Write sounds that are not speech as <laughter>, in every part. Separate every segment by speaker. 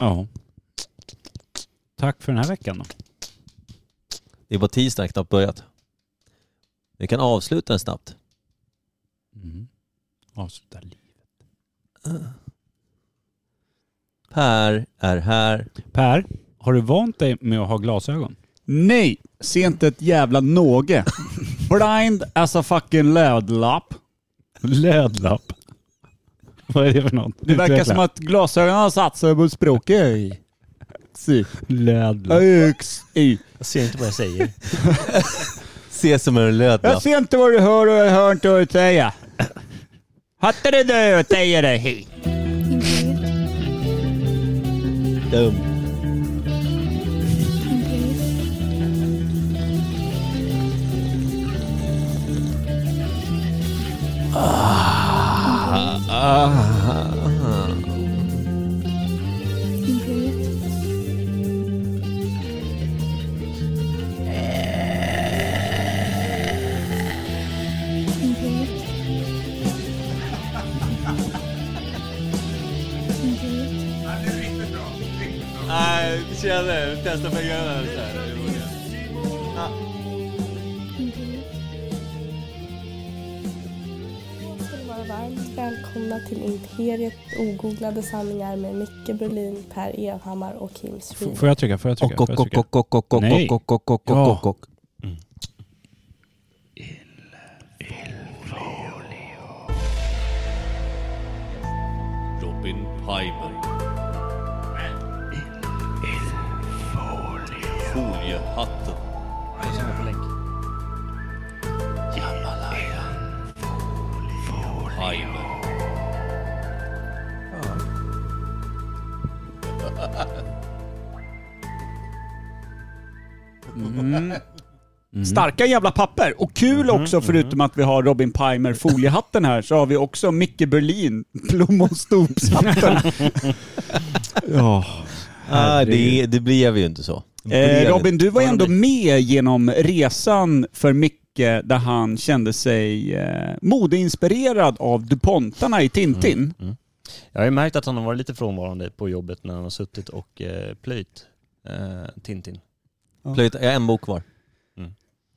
Speaker 1: Ja. Tack för den här veckan då.
Speaker 2: Det är på tisdag, knappt börjat. Vi kan avsluta den snabbt.
Speaker 1: Mm. Avsluta liv.
Speaker 2: Per är här.
Speaker 1: Per, har du vant dig med att ha glasögon?
Speaker 3: Nej, se inte ett jävla någe. Blind as a fucking lödlapp.
Speaker 1: Lödlapp. <laughs> Vad är det för något?
Speaker 3: Det verkar som att glasögonen har satt sig på språket. Oj. Si.
Speaker 1: Lödlapp.
Speaker 3: Öx. I.
Speaker 4: Jag ser inte vad
Speaker 2: <laughs>
Speaker 4: jag säger.
Speaker 2: Se som en
Speaker 3: Jag
Speaker 2: lödlapp.
Speaker 3: ser inte vad du hör och jag hör inte vad du säger. Hattar du det jag säger dig? Hej.
Speaker 5: Imperiet.
Speaker 2: Dum.
Speaker 5: Imperiet. Imperiet.
Speaker 6: Ah.
Speaker 5: Imperiet. Imperiet.
Speaker 3: Nej, tjena. Testa för ögonen.
Speaker 6: ska ni vara varmt välkomna till Imperiet ogooglade sanningar med Micke Berlin, Per Evhammar och Kim Sweden.
Speaker 1: Får jag trycka? Får jag trycka?
Speaker 2: Kock,
Speaker 1: Får
Speaker 2: kock,
Speaker 1: jag
Speaker 2: kock,
Speaker 1: trycka?
Speaker 2: kock, kock, kock, kock,
Speaker 1: Nej.
Speaker 2: kock, kock, kock,
Speaker 1: Ja.
Speaker 2: kock, kock.
Speaker 7: Robin Piper. Foliehatten. Jamalayan. Piper.
Speaker 3: Starka jävla papper. Och kul också, förutom att vi har Robin Pimer foliehatten här, så har vi också Micke Berlin plommonstopshatten.
Speaker 1: Ja.
Speaker 2: Ah, det, det blev ju inte så. Det blev
Speaker 3: Eh,
Speaker 2: inte.
Speaker 3: Robin, du var ju ändå med genom resan för Micke där han kände sig eh, modeinspirerad av DuPontarna i Tintin.
Speaker 2: Mm,
Speaker 4: Jag har ju märkt att han har varit lite frånvarande på jobbet när han har suttit och eh, plöjt eh, Tintin.
Speaker 2: Plöjt, jag har en bok kvar.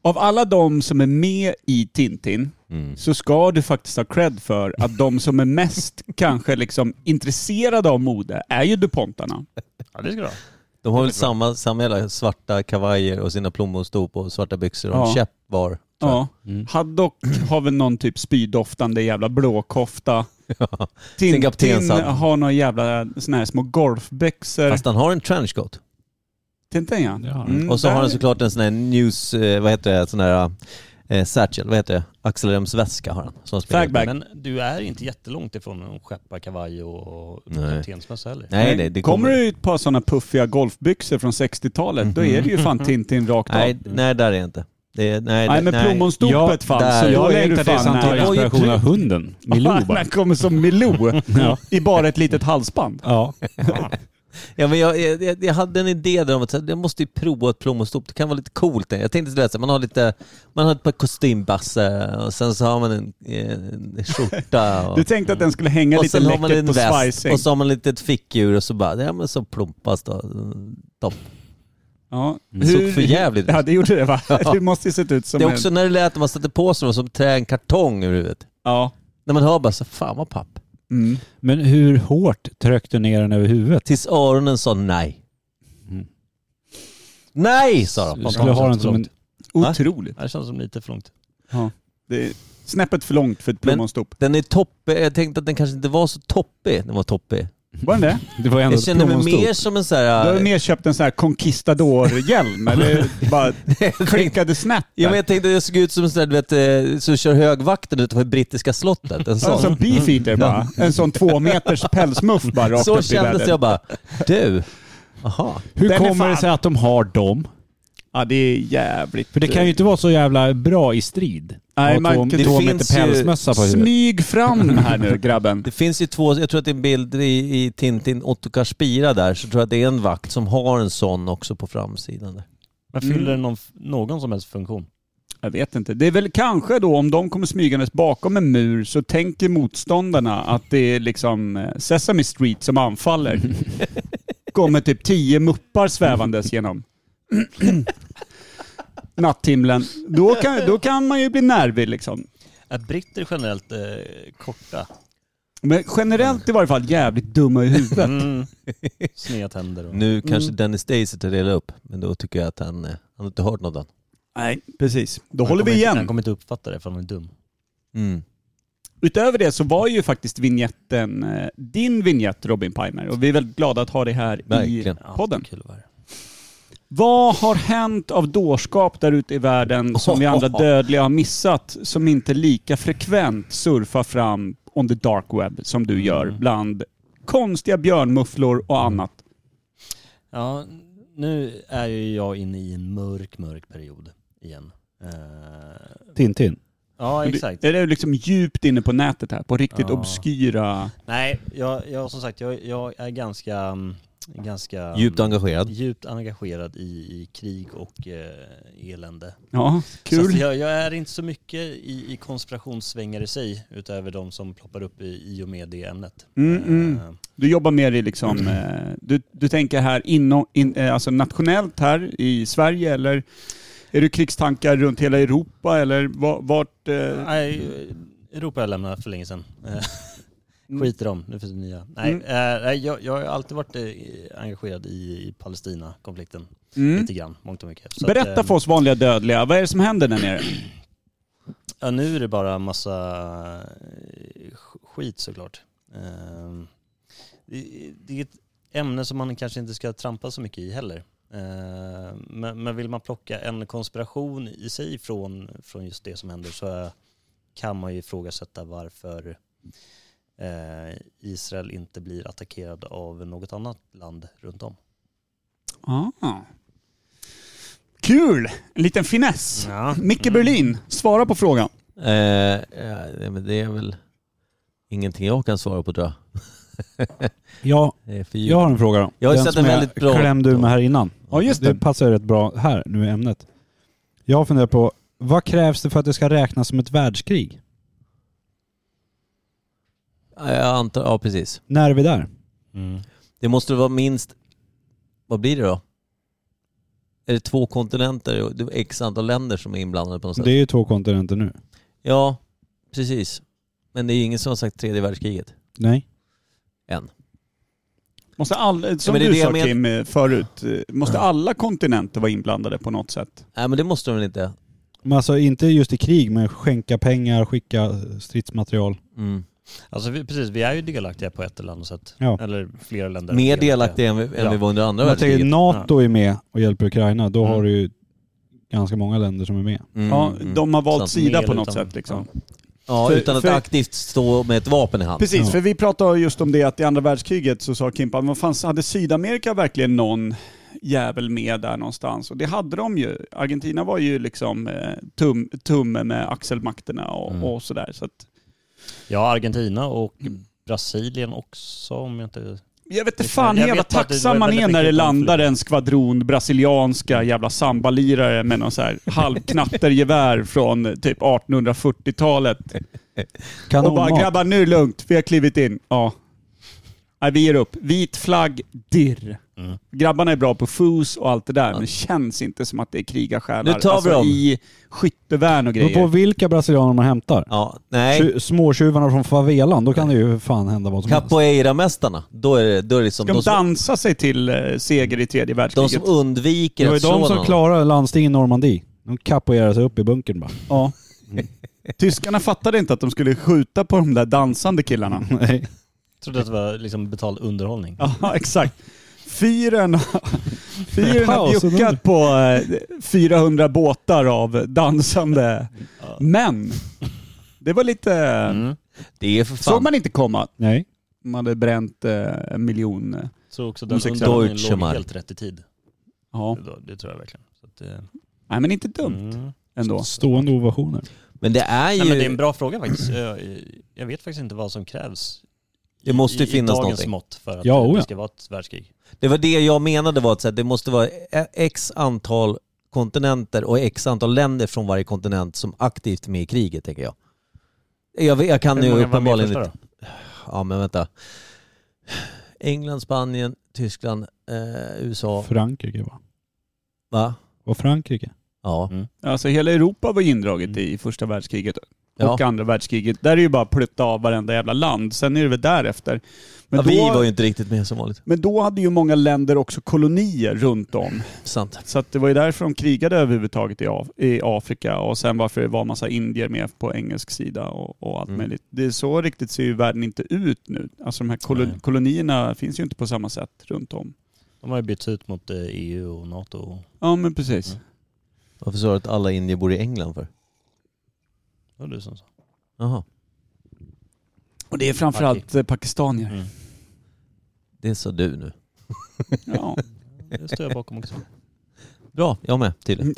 Speaker 3: Av alla de som är med i Tintin
Speaker 2: Mm.
Speaker 3: så ska du faktiskt ha cred för att de som
Speaker 2: <laughs>
Speaker 3: är mest kanske liksom intresserade av mode är ju DuPontarna.
Speaker 4: Ja det ska du ha.
Speaker 2: De har väl samma, samma jävla svarta kavajer och sina plommonstop och svarta byxor och en
Speaker 3: Ja.
Speaker 2: käpp var. <laughs> tror jag.
Speaker 3: Ja. Haddock har väl någon typ spydoftande jävla blåkofta.
Speaker 2: Sin
Speaker 3: Tintin
Speaker 2: kaptenshatt.
Speaker 3: har några jävla såna här små golfbyxor.
Speaker 2: Fast han har en trenchcoat.
Speaker 3: Tintin ja. Mm.
Speaker 1: Det har han.
Speaker 2: Och så
Speaker 3: där-
Speaker 2: har han såklart en sån här news, eh, vad heter det, sån här eh, satchel, vad heter det, axelremsväska har han. som han springer ut med.
Speaker 3: Fagbag.
Speaker 4: Men du är inte jättelångt ifrån en skepparkavaj och
Speaker 2: Nej.
Speaker 4: kaptensmössa heller.
Speaker 2: Nej, det, det
Speaker 3: kommer det ut ett par sådana puffiga golfbyxor från 60-talet, då är det ju fan Tintin rakt
Speaker 2: Mhm.
Speaker 3: av.
Speaker 2: Nej,
Speaker 3: Nej,
Speaker 2: nej, där är jag inte. Det, nej, det-
Speaker 3: men
Speaker 2: nej.
Speaker 3: plommonstopet
Speaker 1: Ja,
Speaker 3: fanns,
Speaker 2: där.
Speaker 3: så
Speaker 2: Jag
Speaker 3: då
Speaker 1: Jag
Speaker 3: är du
Speaker 1: längtar tills
Speaker 3: fan
Speaker 1: han tar
Speaker 2: Det var ju
Speaker 1: inspiration av hunden. <laughs>
Speaker 3: <laughs>
Speaker 1: Milou bara.
Speaker 3: Han kommer
Speaker 2: <laughs>
Speaker 3: som Milou i bara ett litet halsband.
Speaker 1: Ja.
Speaker 2: Ja, men jag, jag, jag- jag hade en idé där om att så här, jag måste ju prova ett plommonstop. Det kan vara lite coolt. Jag tänkte sådär, så här, man har lite, man har ett par kostymbassar och sen så har man en, en skjorta. Och,
Speaker 3: Du tänkte att den skulle hänga
Speaker 2: och
Speaker 3: lite
Speaker 2: sen har man
Speaker 3: läckert
Speaker 2: en
Speaker 3: på
Speaker 2: väst
Speaker 3: svajsing.
Speaker 2: och så har man lite ett fickdjur och så bara, ja men så plompas då. Topp.
Speaker 3: Ja.
Speaker 2: Det Mm. såg för jävligt ut.
Speaker 3: Ja, det gjorde <laughs>
Speaker 2: <laughs>
Speaker 3: det va? Du måste ju sett ut som
Speaker 2: Det är
Speaker 3: en...
Speaker 2: också när det lät när man satte på sig dem som trä en kartong över huvudet.
Speaker 3: Ja.
Speaker 2: När man hör bara så fan vad papp.
Speaker 3: Mm.
Speaker 1: Men hur hårt tryckte du ner den över huvudet?
Speaker 2: Tills öronen sa nej.
Speaker 1: Mm.
Speaker 2: Nej sa de.
Speaker 1: Du skulle ha den som en...
Speaker 3: Otroligt.
Speaker 4: Det känns som lite för långt.
Speaker 3: Det är snäppet för långt för ett
Speaker 2: Men-
Speaker 3: plommonstop.
Speaker 2: Den är toppig. Jag tänkte att den kanske inte var så toppig. Den var toppig.
Speaker 3: Var
Speaker 2: <laughs>
Speaker 3: den det?
Speaker 1: Det var ändå
Speaker 2: Jag känner mig
Speaker 1: plommonstop.
Speaker 2: mer som en sån
Speaker 3: Du har
Speaker 2: här... eh,
Speaker 3: ju mer köpt en sån här
Speaker 2: <laughs>
Speaker 3: conquistador-hjälm eller bara klickade snett.
Speaker 2: Ja, men jag tänkte att jag såg ut som en sån där, du vet, eh, som kör högvakten utanför brittiska slottet. En
Speaker 3: En sån
Speaker 2: sån.
Speaker 3: beefeater bara. En sån två meters pälsmuff bara rakt
Speaker 2: Så
Speaker 3: upp i
Speaker 2: kändes
Speaker 3: vädret.
Speaker 2: jag bara. Du, aha.
Speaker 1: Hur
Speaker 3: Den är
Speaker 1: kommer det
Speaker 3: fan-
Speaker 1: sig att de har dem?
Speaker 3: Ja det är jävligt... eh,
Speaker 1: För det kan ju inte vara så jävla bra i strid.
Speaker 3: Nej,
Speaker 1: Att ha två,
Speaker 3: man kan-
Speaker 1: två
Speaker 2: det
Speaker 1: meter
Speaker 2: finns ju
Speaker 1: pälsmössa på huvudet.
Speaker 3: Smyg
Speaker 1: <laughs>
Speaker 3: fram här nu grabben.
Speaker 2: Det finns ju två, jag tror att det är en bild i, i Tintin, Ottokar Spira där, så tror jag att det är en vakt som har en sån också på framsidan. Där.
Speaker 4: Men
Speaker 3: Mm.
Speaker 4: fyller den någon, någon som helst funktion?
Speaker 3: Jag vet inte. Det är väl kanske då om de kommer smygandes bakom en mur så
Speaker 1: <laughs>
Speaker 3: tänker motståndarna att det är liksom eh, Sesame Street som anfaller. kommer typ tio muppar svävandes genom <clears throat> natthimlen. Då kan, då kan man ju bli nervig liksom.
Speaker 4: Är britter generellt eh, korta?
Speaker 3: Men generellt i varje fall jävligt dumma i huvudet. <laughs>
Speaker 4: Mm. Sneda tänder och...
Speaker 2: Nu kanske Dennis Daisy tar reda upp, men då tycker jag att han, eh, han har inte hört något än.
Speaker 3: Nej, precis. Då
Speaker 4: Han
Speaker 3: håller vi
Speaker 4: kommer inte- Han
Speaker 3: igen.
Speaker 4: kommer inte uppfatta det för han är dum.
Speaker 2: Mm.
Speaker 3: Utöver det så var ju faktiskt vignetten eh, din vignett Robin Pimer och vi är väldigt glada att ha dig här
Speaker 2: Verkligen.
Speaker 3: i podden.
Speaker 4: Kul att vara här.
Speaker 3: Vad har hänt av dårskap där ute i världen som vi
Speaker 4: <laughs>
Speaker 3: andra dödliga har missat som inte lika frekvent surfar fram on the dark web som du gör
Speaker 4: Mm.
Speaker 3: bland konstiga björnmufflor och annat?
Speaker 4: Ja, nu är ju jag inne i en mörk, mörk period igen. Eh,
Speaker 1: Tintin.
Speaker 4: ja, exakt.
Speaker 3: Är det liksom djupt inne på nätet här? På riktigt
Speaker 4: Ja.
Speaker 3: obskyra...
Speaker 4: Nej, jag, jag som sagt, jag, jag är ganska, mm, ganska
Speaker 2: Djupt engagerad.
Speaker 4: djupt engagerad i, i krig och eh, elände.
Speaker 3: Ja,
Speaker 4: Så att
Speaker 3: kul.
Speaker 4: jag, jag är inte så mycket i, i konspirationssvängar i sig, utöver de som ploppar upp i, i och med det ämnet.
Speaker 3: Mm, mm.
Speaker 4: Eh,
Speaker 3: Du jobbar mer i liksom... eh, Du, du tänker här inom, in, eh, alltså nationellt här i Sverige eller är det krigstankar runt hela Europa eller va- vart... eh,
Speaker 4: Nej, Europa har jag lämnat för länge sedan. Eh, Skiter om, nu finns det nya. Nej,
Speaker 3: Mm.
Speaker 4: eh, nej, jag, jag har alltid varit eh, engagerad i, i Palestina-konflikten.
Speaker 3: Mm.
Speaker 4: Lite grann, mångt och mycket. Så att,
Speaker 3: Berätta
Speaker 4: eh,
Speaker 3: för oss vanliga dödliga, vad är det som händer där nere?
Speaker 4: Ja, nu är det bara massa eh, sk- skit såklart. Ehm, Det det är ett ämne som man kanske inte ska trampa så mycket i heller. Ehm, Men men vill man plocka en konspiration i sig från, från just det som händer så eh, kan man ju ifrågasätta varför eh, Israel inte blir attackerad av något annat land runt om.
Speaker 3: Ah. Kul! En liten finess.
Speaker 4: Ja.
Speaker 3: <laughs> Micke
Speaker 2: Mm.
Speaker 3: Berlin, svara på frågan.
Speaker 2: Eh, ja, men det är väl ingenting jag kan svara på tror jag.
Speaker 1: Ja,
Speaker 2: Det är för
Speaker 1: jag
Speaker 2: djupt.
Speaker 1: har en fråga då.
Speaker 2: Jag har
Speaker 1: Den
Speaker 2: sett
Speaker 1: som
Speaker 2: en väldigt bra-
Speaker 1: Jag klämde ur mig här innan.
Speaker 3: Ja, just
Speaker 1: Det
Speaker 3: det.
Speaker 1: passar ju rätt bra här, nu i ämnet. Jag funderar på, vad krävs det för att det ska räknas som ett världskrig?
Speaker 2: Ja, jag antar, ja precis.
Speaker 1: När är vi där?
Speaker 4: Mm.
Speaker 2: Det måste vara minst, vad blir det då? Är det två kontinenter och det är x antal länder som är inblandade på något sätt?
Speaker 1: Det är ju två kontinenter nu.
Speaker 2: Ja, precis. Men det är ju ingen som har sagt tredje världskriget.
Speaker 1: Nej.
Speaker 2: Än.
Speaker 3: Måste all, som
Speaker 2: men det är
Speaker 3: du
Speaker 2: det
Speaker 3: sa
Speaker 2: jag men-
Speaker 3: Kim eh, förut, eh, måste alla kontinenter vara inblandade på något sätt?
Speaker 2: Nej men det måste de väl inte?
Speaker 1: Men alltså inte just i krig, men skänka pengar, skicka stridsmaterial.
Speaker 2: Mm.
Speaker 4: Alltså vi, precis, vi är ju delaktiga på ett eller annat sätt.
Speaker 1: Ja.
Speaker 4: Eller flera länder. är
Speaker 2: Mer delaktiga än vi, än
Speaker 4: Ja.
Speaker 2: vi var under andra
Speaker 1: Men jag tänker
Speaker 2: världskriget.
Speaker 1: NATO är med och hjälper Ukraina, då
Speaker 4: Mm.
Speaker 1: har du ju ganska många länder som är med.
Speaker 2: Mm,
Speaker 3: Ja,
Speaker 2: mm.
Speaker 3: de har valt
Speaker 2: sant.
Speaker 3: sida
Speaker 4: Mer
Speaker 3: på något
Speaker 4: utan-
Speaker 3: sätt liksom.
Speaker 2: Ja,
Speaker 3: För-
Speaker 2: utan att
Speaker 3: för-
Speaker 2: aktivt stå med ett vapen i hand.
Speaker 3: Precis,
Speaker 1: Ja.
Speaker 3: för vi pratade just om det att i andra världskriget så sa Kimpa, men fanns, hade Sydamerika verkligen någon jävel med där någonstans? Och det hade de ju. Argentina var ju liksom eh, tum, tumme med axelmakterna och,
Speaker 4: Mm.
Speaker 3: och sådär. Så att,
Speaker 4: Ja, Argentina och Brasilien också om jag inte...
Speaker 3: jag vet
Speaker 4: Det
Speaker 3: inte
Speaker 4: är
Speaker 3: fan
Speaker 4: fan- jag
Speaker 3: jävla
Speaker 4: vet bara att det var
Speaker 3: tacksam man
Speaker 4: väldigt
Speaker 3: är när det
Speaker 4: mycket
Speaker 3: landar en skvadron brasilianska jävla sambalirare med någon så här halvknattergevär från typ 1840-talet. Och bara
Speaker 1: Kanonmat.
Speaker 3: grabbar nu är det lugnt, vi har klivit in. Ja. Nej, vi ger upp. Vit flagg, dirr.
Speaker 4: Mm.
Speaker 3: Grabbarna är bra på fus och allt det där, men det känns inte som att det är krigarsjälar.
Speaker 2: Nu tar vi
Speaker 3: alltså,
Speaker 2: dem.
Speaker 3: I skyttevärn och
Speaker 1: Det beror på
Speaker 3: grejer.
Speaker 1: vilka brasilianer man hämtar.
Speaker 2: Ja, nej.
Speaker 1: Tju- Småtjuvarna från favelan, då kan det ju fan hända vad som helst.
Speaker 2: Capoeira-mästarna, då är det, då är det liksom
Speaker 3: Ska de
Speaker 2: de som,
Speaker 3: dansa sig till eh, seger i tredje
Speaker 2: de
Speaker 3: världskriget?
Speaker 2: som undviker
Speaker 1: Det var ju
Speaker 2: att slå
Speaker 1: de som
Speaker 2: någon.
Speaker 1: klarade landstinget Normandie. De capoeirade sig upp i bunkern bara.
Speaker 3: Ja.
Speaker 2: Mm.
Speaker 3: Tyskarna fattade inte att de skulle skjuta på de där dansande killarna.
Speaker 1: <laughs> Nej.
Speaker 4: Jag trodde att det var liksom betald underhållning.
Speaker 3: Ja, <laughs> exakt. Fyren, fyren har
Speaker 1: Pausen under.
Speaker 3: bjuckat på eh, 400 båtar av dansande män. Det var lite... eh,
Speaker 2: Det är för
Speaker 3: Såg
Speaker 2: Mm, fan
Speaker 3: man inte komma.
Speaker 1: Nej.
Speaker 3: Man hade bränt eh, en miljon. eh,
Speaker 4: Så också den
Speaker 3: Musik-
Speaker 4: underhållningen
Speaker 2: Deutsche
Speaker 4: låg
Speaker 2: Mark.
Speaker 4: helt rätt i tid.
Speaker 3: Ja.
Speaker 4: Det, det tror jag verkligen. Så att, eh,
Speaker 3: Nej men inte dumt
Speaker 4: mm.
Speaker 3: ändå.
Speaker 1: Stående ovationer.
Speaker 2: Men det är ju...
Speaker 4: Nej, men det
Speaker 2: det,
Speaker 4: är en bra fråga faktiskt. Jag, jag vet faktiskt inte vad som krävs.
Speaker 2: Det måste ju
Speaker 4: i,
Speaker 2: finnas
Speaker 4: i dagens
Speaker 2: någonting.
Speaker 4: mått för att
Speaker 1: Ja,
Speaker 4: ja,
Speaker 1: oja.
Speaker 4: det ska vara ett världskrig.
Speaker 2: var det jag menade var att så här, det måste vara e- x antal kontinenter och x antal länder från varje kontinent som aktivt är med i kriget, tänker jag. Jag, vet- jag kan
Speaker 4: Hur
Speaker 2: ju
Speaker 4: många var med i
Speaker 2: uppenbarligen
Speaker 4: första
Speaker 2: inte...
Speaker 4: då?
Speaker 2: Ja, men vänta. England, Spanien, Tyskland, eh, USA.
Speaker 1: Frankrike va?
Speaker 2: Va?
Speaker 1: Och Frankrike?
Speaker 2: Ja.
Speaker 3: Alltså hela Europa var indraget i första världskriget
Speaker 2: Mm. Ja.
Speaker 3: och andra världskriget. Där är ju bara att plutta av varenda jävla land. Sen är det väl därefter. Men,
Speaker 2: ja,
Speaker 3: då,
Speaker 2: vi var ju inte riktigt med som vanligt.
Speaker 3: men då hade ju många länder också kolonier runt om.
Speaker 2: Sant.
Speaker 3: Så att det var ju därför de krigade överhuvudtaget i, Af- i Afrika och sen varför det var massa indier med på engelsk sida och, och allt
Speaker 2: Mm.
Speaker 3: möjligt. Det är så riktigt ser ju världen inte ut nu. Alltså de här kolo-
Speaker 4: Nej.
Speaker 3: kolonierna finns ju inte på samma sätt runt om.
Speaker 4: De har ju bytts ut mot eh, EU och NATO. och-
Speaker 3: Ja men precis.
Speaker 4: Mm.
Speaker 2: Varför sa du att alla indier bor i England för?
Speaker 4: Vad var det som sa?
Speaker 2: Jaha.
Speaker 3: Och det är framförallt eh, pakistanier.
Speaker 4: Mm.
Speaker 2: Det sa du nu.
Speaker 3: Ja.
Speaker 4: Det står jag
Speaker 2: <laughs>
Speaker 4: bakom också.
Speaker 2: Bra, jag med tydligen.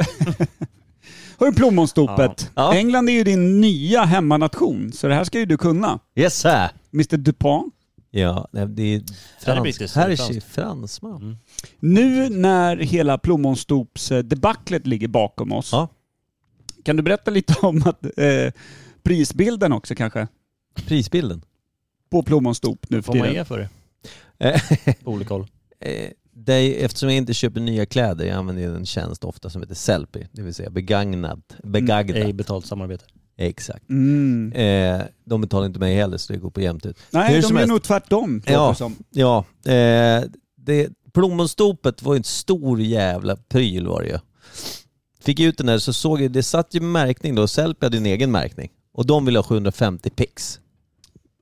Speaker 3: Hörru plommonstopet.
Speaker 2: Ja. Ja.
Speaker 3: England är ju din nya hemmanation så det här ska ju du kunna.
Speaker 2: <laughs> Yes sir!
Speaker 3: Mr Dupont.
Speaker 2: Ja, nej, det är
Speaker 4: Här är
Speaker 2: fransk.
Speaker 4: brittiskt,
Speaker 2: Här är
Speaker 4: franskt.
Speaker 2: tje- fransman.
Speaker 4: Mm.
Speaker 3: Nu när hela plommonstopsdebaclet ligger bakom oss.
Speaker 2: Ja.
Speaker 3: Kan du berätta lite om att, eh, prisbilden också kanske?
Speaker 2: Prisbilden.
Speaker 3: på plommonstop nu för
Speaker 4: Får man
Speaker 3: tiden.
Speaker 2: <laughs>
Speaker 4: ge för det?
Speaker 2: Eh,
Speaker 4: På olika håll.
Speaker 2: eh, det är, eftersom jag inte köper nya kläder, jag använder ju en tjänst ofta som heter Sellpy, det vill säga begagnad. Begagnad.
Speaker 4: Ej betalt samarbete.
Speaker 2: Exakt.
Speaker 3: Mm.
Speaker 2: Eh, de betalar inte mig heller så det går på jämnt ut.
Speaker 3: Nej,
Speaker 2: Hur
Speaker 3: de
Speaker 2: som
Speaker 3: är
Speaker 2: helst.
Speaker 3: nog tvärtom.
Speaker 2: Ja.
Speaker 3: Ja. Som.
Speaker 2: Ja, eh, det, plommonstopet var ju en stor jävla pryl var det ju. Fick ut den där så såg jag, det satt ju märkning då, Sellpy hade ju en egen märkning. Och de ville ha 750 pix.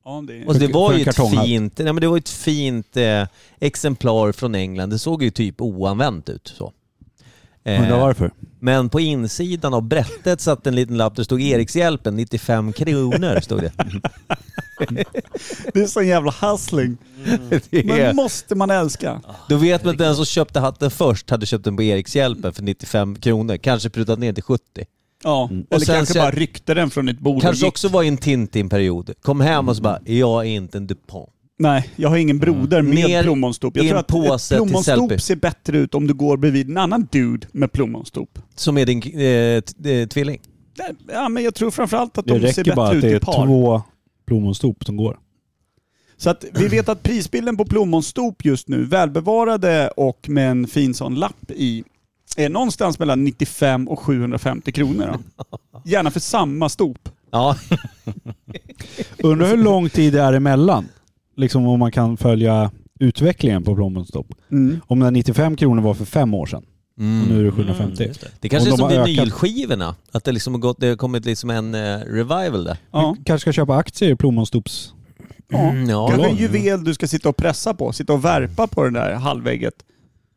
Speaker 3: Ja, det
Speaker 2: Och det
Speaker 1: För-
Speaker 2: var
Speaker 1: för
Speaker 2: ju
Speaker 1: en
Speaker 2: ett
Speaker 1: kartonghatt.
Speaker 2: fint, nej, men det var ju ett fint eh, exemplar från England. Det såg ju typ oanvänt ut. Så. Eh,
Speaker 1: Undrar varför?
Speaker 2: men på insidan av brättet satt en liten lapp där det stod Erikshjälpen 95 kronor.
Speaker 1: <laughs>
Speaker 2: Stod det.
Speaker 3: det är sån jävla
Speaker 2: <laughs>
Speaker 3: hustling.
Speaker 2: det
Speaker 3: Men
Speaker 2: är,
Speaker 3: måste man älska.
Speaker 2: då vet man att den som köpte hatten först hade köpt den på Erikshjälpen för 95 kronor. Kanske prutat ner till 70.
Speaker 3: Ja. Eller
Speaker 2: Mm. sen
Speaker 3: kanske
Speaker 2: så-
Speaker 3: bara ryckte den från ett bord.
Speaker 2: Kanske
Speaker 3: och gick.
Speaker 2: också var i en Tintin-period. Kom hem och så bara, jag är inte en Dupont.
Speaker 3: Nej, jag har ingen broder med
Speaker 2: Ner
Speaker 3: plommonstop.
Speaker 2: i
Speaker 3: Jag
Speaker 2: Mm. en
Speaker 3: tror att
Speaker 2: påse
Speaker 3: ett
Speaker 2: till Sellpy.
Speaker 3: plommonstop ser bättre ut om du går bredvid en annan dude med plommonstop.
Speaker 2: Som är din eh, t- eh, tvilling.
Speaker 3: Nej, Ja, men jag tror framförallt att
Speaker 1: Det
Speaker 3: de ser
Speaker 1: räcker bara att
Speaker 3: bättre ut
Speaker 1: det är
Speaker 3: i par.
Speaker 1: två plommonstop som går.
Speaker 3: Så att vi vet att prisbilden på plommonstop just nu, välbevarade och med en fin sån lapp i, är någonstans mellan 95 och 750 kronor. Då.
Speaker 1: <laughs>
Speaker 3: Gärna för samma stop.
Speaker 2: Ja,
Speaker 1: Undrar hur lång tid det är emellan? Liksom om man kan följa utvecklingen på plommonstop. Om den 95 kronor var för fem år sedan
Speaker 3: Mm.
Speaker 1: och nu är det 750.
Speaker 4: Mm, just det.
Speaker 2: Mm. Det kanske
Speaker 1: Och
Speaker 2: är
Speaker 1: de
Speaker 2: som
Speaker 1: har ökat.
Speaker 2: vinylskivorna, att det, liksom har gått, det har kommit liksom en eh, revival där.
Speaker 3: Ja.
Speaker 1: Du kanske ska köpa aktier i plommonstops...
Speaker 3: Ja.
Speaker 2: Mm, ja.
Speaker 3: Kanske en juvel du ska sitta och pressa på, sitta och värpa på det där halvägget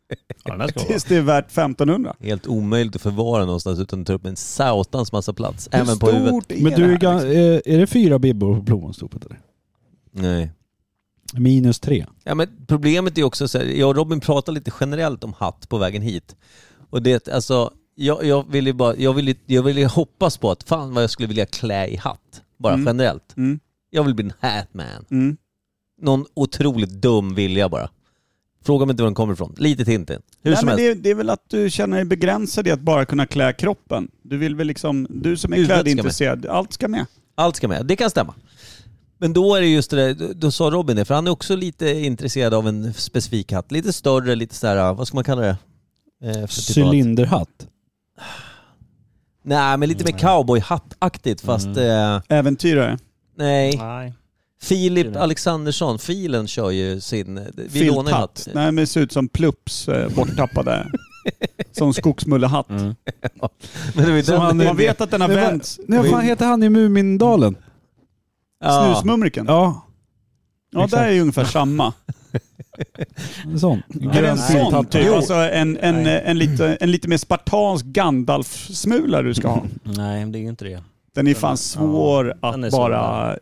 Speaker 4: Ja, den här ska vara.
Speaker 3: tills det är värt 1500.
Speaker 2: Helt omöjligt att förvara någonstans utan att ta upp en satans massa plats.
Speaker 3: Hur
Speaker 2: även på huvudet.
Speaker 3: stort är
Speaker 1: Men
Speaker 3: det
Speaker 1: du, är,
Speaker 3: här,
Speaker 1: ga-
Speaker 3: liksom?
Speaker 1: eh, är det fyra bibbor på plommonstopet eller?
Speaker 2: Nej.
Speaker 1: Minus tre.
Speaker 2: Ja, men problemet är också så här, jag och Robin pratade lite generellt om hatt på vägen hit. Och det, alltså, jag, jag ville ju bara, jag ville, jag ville hoppas på att fan vad jag skulle vilja klä i hatt. Bara
Speaker 3: Mm.
Speaker 2: generellt.
Speaker 3: Mm.
Speaker 2: Jag vill bli en hatman.
Speaker 3: Mm.
Speaker 2: Någon otroligt dum vilja bara. Fråga mig inte var den kommer ifrån. Lite Tintin. Hur
Speaker 3: Nej,
Speaker 2: som
Speaker 3: men
Speaker 2: helst.
Speaker 3: det, är, det är väl att du känner dig begränsad i att bara kunna klä kroppen. Du vill väl liksom, du som är
Speaker 2: Huvudet ska med.
Speaker 3: klädintresserad, allt ska med.
Speaker 2: Allt ska med, det kan stämma. Men då är det just det där, då- då sa Robin det, för han är också lite intresserad av en specifik hatt. Lite större, lite sådär, vad ska man kalla det? Eh, för typ av hatt.
Speaker 1: Cylinderhatt.
Speaker 2: Nej, men lite
Speaker 3: Mm.
Speaker 2: mer cowboyhattaktigt fast... Eh,
Speaker 3: Äventyrare.
Speaker 2: nej.
Speaker 4: Nej.
Speaker 2: Filip Alexandersson, Filen kör ju sin... Vi lånar ju hatt.
Speaker 3: Filthatt. Nej men det ser ut som Plups eh,
Speaker 2: <laughs>
Speaker 3: borttappade. som skogsmullehatt.
Speaker 2: Men det var ju
Speaker 1: Som
Speaker 2: den-
Speaker 1: han-
Speaker 3: Man vet att den har
Speaker 1: Men vad-
Speaker 3: vänts.
Speaker 1: Nej, vad fan heter han i Mumindalen?
Speaker 2: <laughs> Ja.
Speaker 3: Snusmumriken. Ja,
Speaker 1: Ja,
Speaker 3: där är ju
Speaker 2: <laughs>
Speaker 3: ungefär samma.
Speaker 1: en sån.
Speaker 3: Är det en
Speaker 1: Grön
Speaker 3: sån
Speaker 1: filthatt.
Speaker 3: typ? Alltså en, en, en, lite, en lite mer spartansk Gandalf-smula du ska ha.
Speaker 4: Nej, det är ju inte det.
Speaker 3: Den är fan svår
Speaker 4: Den är
Speaker 3: att
Speaker 4: svår,
Speaker 3: bara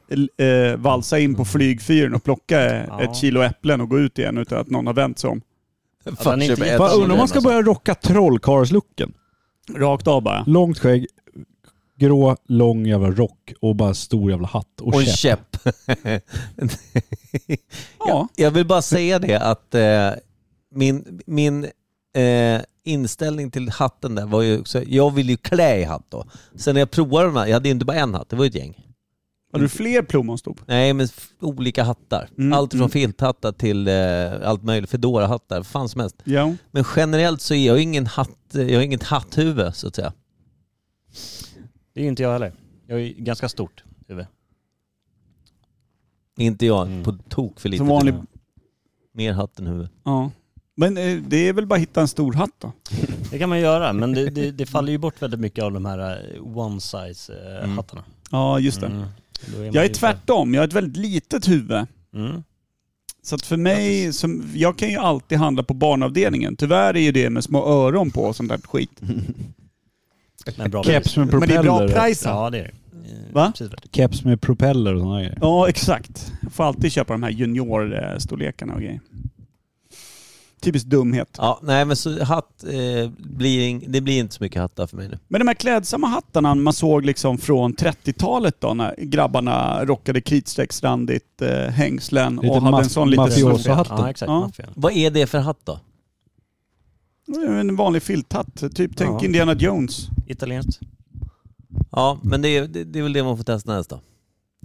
Speaker 3: eh, valsa in på flygfyren och plocka
Speaker 4: Ja.
Speaker 3: ett kilo äpplen och gå ut igen utan att någon har vänt sig om.
Speaker 4: Ja, den är
Speaker 2: köp
Speaker 4: inte
Speaker 2: ett
Speaker 4: jätte-
Speaker 1: Vad
Speaker 2: sånt
Speaker 1: Undrar om man
Speaker 2: där,
Speaker 1: ska
Speaker 2: alltså.
Speaker 1: börja rocka trollkarlslooken.
Speaker 3: Rakt av bara.
Speaker 1: Långt skägg, grå, lång jävla rock och bara stor jävla hatt och,
Speaker 2: Och en
Speaker 1: käpp.
Speaker 2: käpp.
Speaker 3: Ja.
Speaker 2: Jag vill bara säga det att eh, min, min eh, inställning till hatten där var ju också, jag vill ju klä i hatt då. Sen när jag provade den här, jag hade ju inte bara en hatt, det var ju ett gäng.
Speaker 3: Har du fler plommonstop?
Speaker 2: Nej, men f- olika hattar.
Speaker 3: Mm,
Speaker 2: Allt från
Speaker 3: mm.
Speaker 2: filthattar till eh, allt möjligt. Fedora-hattar, vad fan som helst.
Speaker 3: Ja.
Speaker 2: Men generellt så är jag ingen hatt, jag har inget hatthuvud så att säga.
Speaker 4: Det är inte jag heller. Jag är ganska stort huvud.
Speaker 2: Inte jag,
Speaker 4: Mm.
Speaker 2: på tok för lite.
Speaker 3: Som vanlig...
Speaker 2: Mer hatt än huvud.
Speaker 3: Ja. Men eh, det är väl bara att hitta en stor hatt då?
Speaker 4: Det kan man göra, men det, det, det faller ju bort väldigt mycket av de här eh, one eh,
Speaker 2: Mm.
Speaker 4: size-hattarna.
Speaker 3: Ja, just det. Jag är tvärtom. Jag har ett väldigt litet huvud.
Speaker 4: Mm.
Speaker 3: Så att för mig, som, jag kan ju alltid handla på barnavdelningen. Tyvärr är ju det med små öron på och sånt där skit.
Speaker 4: Men bra
Speaker 1: Keps med
Speaker 3: Men det är
Speaker 1: propeller.
Speaker 3: bra prajsat.
Speaker 4: Ja, det är det. Eh,
Speaker 3: Va?
Speaker 4: precis värt.
Speaker 1: Keps med propeller och sådana
Speaker 3: <laughs>
Speaker 1: grejer.
Speaker 3: Ja, exakt. Jag får alltid köpa de här juniorstorlekarna och grejer. Typiskt dumhet.
Speaker 2: Ja, nej men så hatt, eh, blir, ing- det blir inte så mycket hattar för mig nu.
Speaker 3: Men de här klädsamma hattarna man såg liksom från 30-talet då när grabbarna rockade kritstrecksrandigt eh, hängslen
Speaker 1: Lite
Speaker 3: och hade
Speaker 1: maf-
Speaker 3: en sån liten...
Speaker 1: mafioso. Så hatten.
Speaker 4: Ja, exakt.
Speaker 3: Ja.
Speaker 4: Maffian.
Speaker 2: Vad är det för hatt då?
Speaker 3: En vanlig filthatt. Typ, tänk
Speaker 4: Ja.
Speaker 3: Indiana Jones.
Speaker 4: Italienskt.
Speaker 2: Ja, men det är, det, det är väl det man får testa nästa.